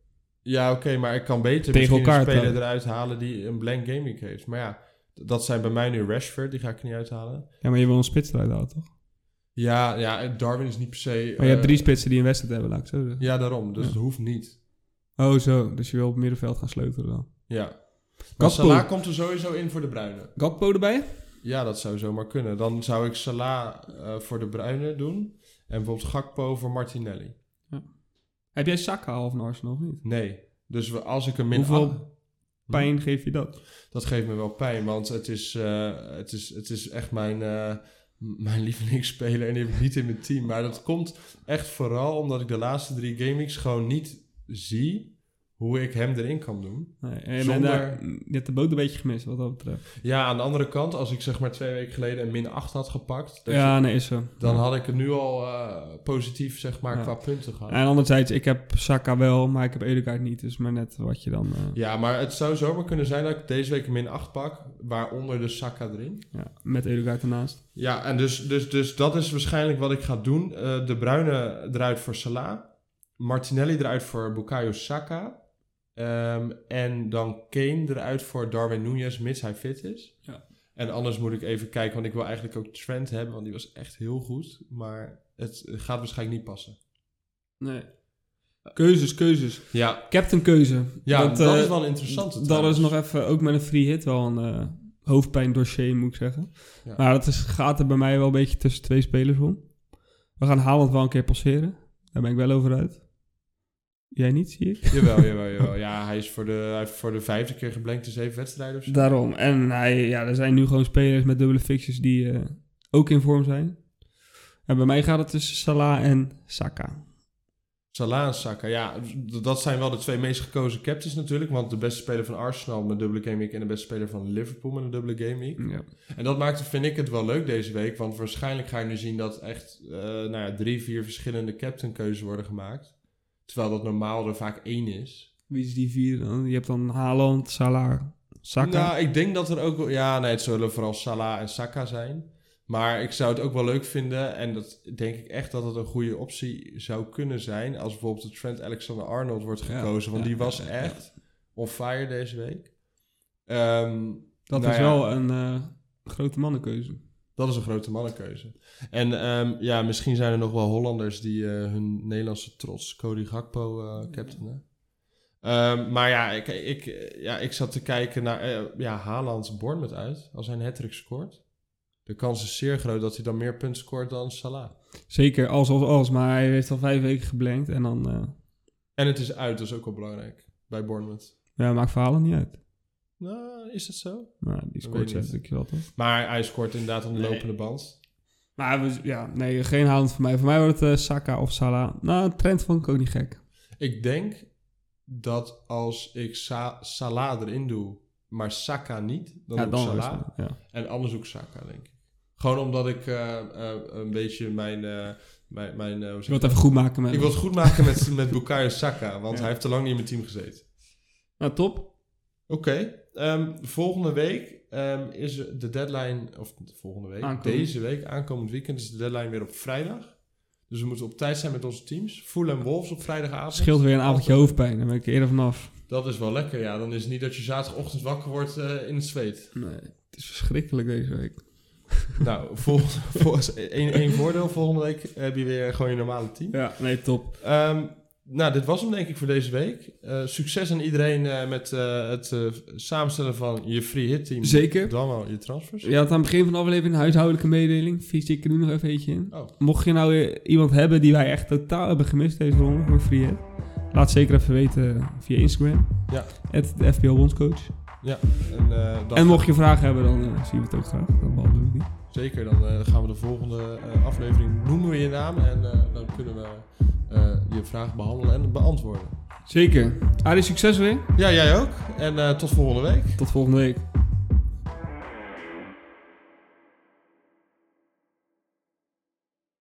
Speaker 1: Ja, oké, maar ik kan beter
Speaker 2: Tegen
Speaker 1: misschien
Speaker 2: elkaar
Speaker 1: een speler
Speaker 2: trouwens.
Speaker 1: eruit halen die een blank gaming heeft. Maar ja, d- dat zijn bij mij nu Rashford, die ga ik er niet uithalen.
Speaker 2: Ja, maar je wil een spits eruit halen, toch?
Speaker 1: Ja, ja, en Darwin is niet per se...
Speaker 2: Maar je hebt
Speaker 1: eh,
Speaker 2: drie spitsen die een wedstrijd hebben, laat ik het zo zeggen.
Speaker 1: Ja, daarom. Dus
Speaker 2: Ja.
Speaker 1: het hoeft niet.
Speaker 2: Oh, zo. Dus je wil op middenveld gaan sleutelen dan.
Speaker 1: Ja. Maar
Speaker 2: Gakpo.
Speaker 1: Salah komt er sowieso in voor de Bruinen.
Speaker 2: Gakpo erbij?
Speaker 1: Ja, dat zou zomaar kunnen. Dan zou ik Salah eh, voor de Bruinen doen. En bijvoorbeeld Gakpo voor Martinelli.
Speaker 2: Heb jij Saka al van Arsenal of niet?
Speaker 1: Nee. Dus we, als ik een min
Speaker 2: Hoeveel
Speaker 1: acht-
Speaker 2: Pijn geef je dat?
Speaker 1: Dat geeft me wel pijn, want het is, eh, het is, het is echt mijn, eh, m- mijn [LAUGHS] lievelingsspeler en die heb ik niet in mijn team. Maar dat komt echt vooral omdat ik de laatste drie gamings gewoon niet zie hoe ik hem erin kan doen.
Speaker 2: Nee, en je, bent
Speaker 1: Zonder-
Speaker 2: daar, je hebt de boot een beetje gemist wat dat betreft.
Speaker 1: Ja, aan de andere kant, als ik zeg maar twee weken geleden een min 8 had gepakt, dat
Speaker 2: ja, nee, is zo.
Speaker 1: je- dan
Speaker 2: Ja.
Speaker 1: had ik het nu al eh, positief zeg maar
Speaker 2: Ja.
Speaker 1: qua punten gehad.
Speaker 2: En anderzijds, ik heb Saka wel, maar ik heb Edegaard niet. Dus maar net wat je dan... eh,
Speaker 1: Ja, maar het zou zomaar kunnen zijn dat ik deze week een min 8 pak, waaronder de Saka erin.
Speaker 2: ja, met Edegaard ernaast.
Speaker 1: Ja, en dus, dus, dus dat is waarschijnlijk wat ik ga doen. Eh, de Bruine eruit voor Salah. Martinelli eruit voor Bukayo Saka. Ehm, en dan Kane eruit voor Darwin Nunez, mits hij fit is.
Speaker 2: Ja.
Speaker 1: En anders moet ik even kijken, want ik wil eigenlijk ook Trent hebben, want die was echt heel goed. Maar het gaat waarschijnlijk niet passen.
Speaker 2: Nee. Keuzes, keuzes.
Speaker 1: Ja,
Speaker 2: Captain keuze.
Speaker 1: ja dat,
Speaker 2: Want, eh,
Speaker 1: is wel een interessante.
Speaker 2: Dat
Speaker 1: trouwens.
Speaker 2: is nog even, ook met een free hit, wel een eh, hoofdpijn dossier, moet ik zeggen.
Speaker 1: Ja.
Speaker 2: Maar dat is, gaat er bij mij wel een beetje tussen twee spelers om. We gaan Haaland wel een keer passeren. Daar ben ik wel over uit. Jij niet, zie ik.
Speaker 1: Jawel, jawel, jawel. Ja, hij is voor de, hij heeft voor de vijfde keer geblankt in zeven wedstrijden of zo.
Speaker 2: Daarom. En hij, ja, er zijn nu gewoon spelers met dubbele fixes die eh, ook in vorm zijn. En bij mij gaat het tussen Salah en Saka.
Speaker 1: Salah en Saka, ja, d- dat zijn wel de twee meest gekozen captains natuurlijk. Want de beste speler van Arsenal met een dubbele game week en de beste speler van Liverpool met een dubbele game week.
Speaker 2: Ja.
Speaker 1: En dat maakte, vind ik, het wel leuk deze week. Want waarschijnlijk ga je nu zien dat echt eh, nou ja, drie, vier verschillende captainkeuzes worden gemaakt. Terwijl dat normaal er vaak één is.
Speaker 2: Wie is die vier dan? Je hebt dan Haaland, Salah, Saka.
Speaker 1: Nou, ik denk dat er ook... wel- Ja, nee, het zullen vooral Salah en Saka zijn. Maar ik zou het ook wel leuk vinden. En dat denk ik echt dat het een goede optie zou kunnen zijn. Als bijvoorbeeld de Trent Alexander-Arnold wordt
Speaker 2: Ja,
Speaker 1: gekozen. want
Speaker 2: ja,
Speaker 1: die
Speaker 2: ja,
Speaker 1: was
Speaker 2: ja, ja.
Speaker 1: echt on fire deze week. Ehm,
Speaker 2: dat
Speaker 1: nou
Speaker 2: is
Speaker 1: ja.
Speaker 2: wel een eh, grote mannenkeuze.
Speaker 1: dat is een grote mannenkeuze. En ehm, ja, misschien zijn er nog wel Hollanders die eh, hun Nederlandse trots Cody Gakpo eh captainen. Ehm, maar ja ik, ik, eh, ja, ik zat te kijken naar eh, ja, Haaland Bournemouth uit. Als hij een hat scoort. De kans is zeer groot dat hij dan meer punten scoort dan Salah.
Speaker 2: Zeker, als, als, als. Maar hij heeft al vijf weken geblankt en dan eh,
Speaker 1: En het is uit, dat is ook wel belangrijk bij Bournemouth.
Speaker 2: ja, maakt verhalen niet uit.
Speaker 1: Nou, is dat zo?
Speaker 2: Nou, die scoort
Speaker 1: weet ik niet.
Speaker 2: zet ik wel toch.
Speaker 1: Maar hij scoort inderdaad aan de
Speaker 2: Nee.
Speaker 1: lopende band.
Speaker 2: Maar we- ja, nee, geen Haaland voor mij. Voor mij wordt het eh, Saka of Salah. Nou, trend vond ik ook niet gek.
Speaker 1: Ik denk dat als ik Sa- Salah erin doe, maar Saka niet, dan
Speaker 2: ja,
Speaker 1: doe ik
Speaker 2: dan is
Speaker 1: Salah.
Speaker 2: het- ja.
Speaker 1: En anders ook Saka, denk ik. Gewoon omdat ik eh, eh, een beetje mijn... eh, mijn, mijn eh, hoe
Speaker 2: Ik
Speaker 1: zeg ik
Speaker 2: wil het
Speaker 1: dat?
Speaker 2: even goed maken met
Speaker 1: ik wil het goed maken met, [LAUGHS] met Bukayo Saka, want
Speaker 2: Ja.
Speaker 1: hij heeft te lang niet in mijn team gezeten.
Speaker 2: Nou, top.
Speaker 1: Oké, ehm, volgende week ehm, is de deadline... Of volgende week,
Speaker 2: Aankomend.
Speaker 1: deze week, aankomend weekend, is de deadline weer op vrijdag. Dus we moeten op tijd zijn met onze teams. Fulham Wolves op vrijdagavond.
Speaker 2: Scheelt weer een avondje hoofdpijn. Dan ben ik eerder vanaf.
Speaker 1: Dat is wel lekker, ja. Dan is het niet dat je zaterdagochtend wakker wordt eh, in het zweet.
Speaker 2: Nee, het is verschrikkelijk deze
Speaker 1: [LAUGHS]
Speaker 2: week.
Speaker 1: nou, volgende, volgens één, één voordeel. Volgende week heb je weer gewoon je normale team.
Speaker 2: Ja, nee, top.
Speaker 1: Ehm, nou, dit was hem denk ik voor deze week. Eh, succes aan iedereen eh, met eh, het eh, samenstellen van je free hit team.
Speaker 2: Zeker.
Speaker 1: Dan wel je transfers.
Speaker 2: Je had aan het begin van de aflevering een huishoudelijke mededeling. Vies ik er nu nog even eentje in.
Speaker 1: Oh.
Speaker 2: Mocht je nou weer iemand hebben die wij echt totaal hebben gemist deze ronde voor free hit, laat zeker even weten eh, via Instagram.
Speaker 1: Ja.
Speaker 2: At de FBL Bondscoach.
Speaker 1: En, eh, dan-
Speaker 2: En mocht je vragen hebben, dan eh, zien we het ook graag. Dan behandelen we die.
Speaker 1: Zeker, dan eh, gaan we de volgende eh, aflevering noemen we je naam. En eh, dan kunnen we eh, je vraag behandelen en beantwoorden.
Speaker 2: Zeker. Arie, succes weer.
Speaker 1: Ja, jij ook. En eh, tot volgende week.
Speaker 2: Tot volgende week.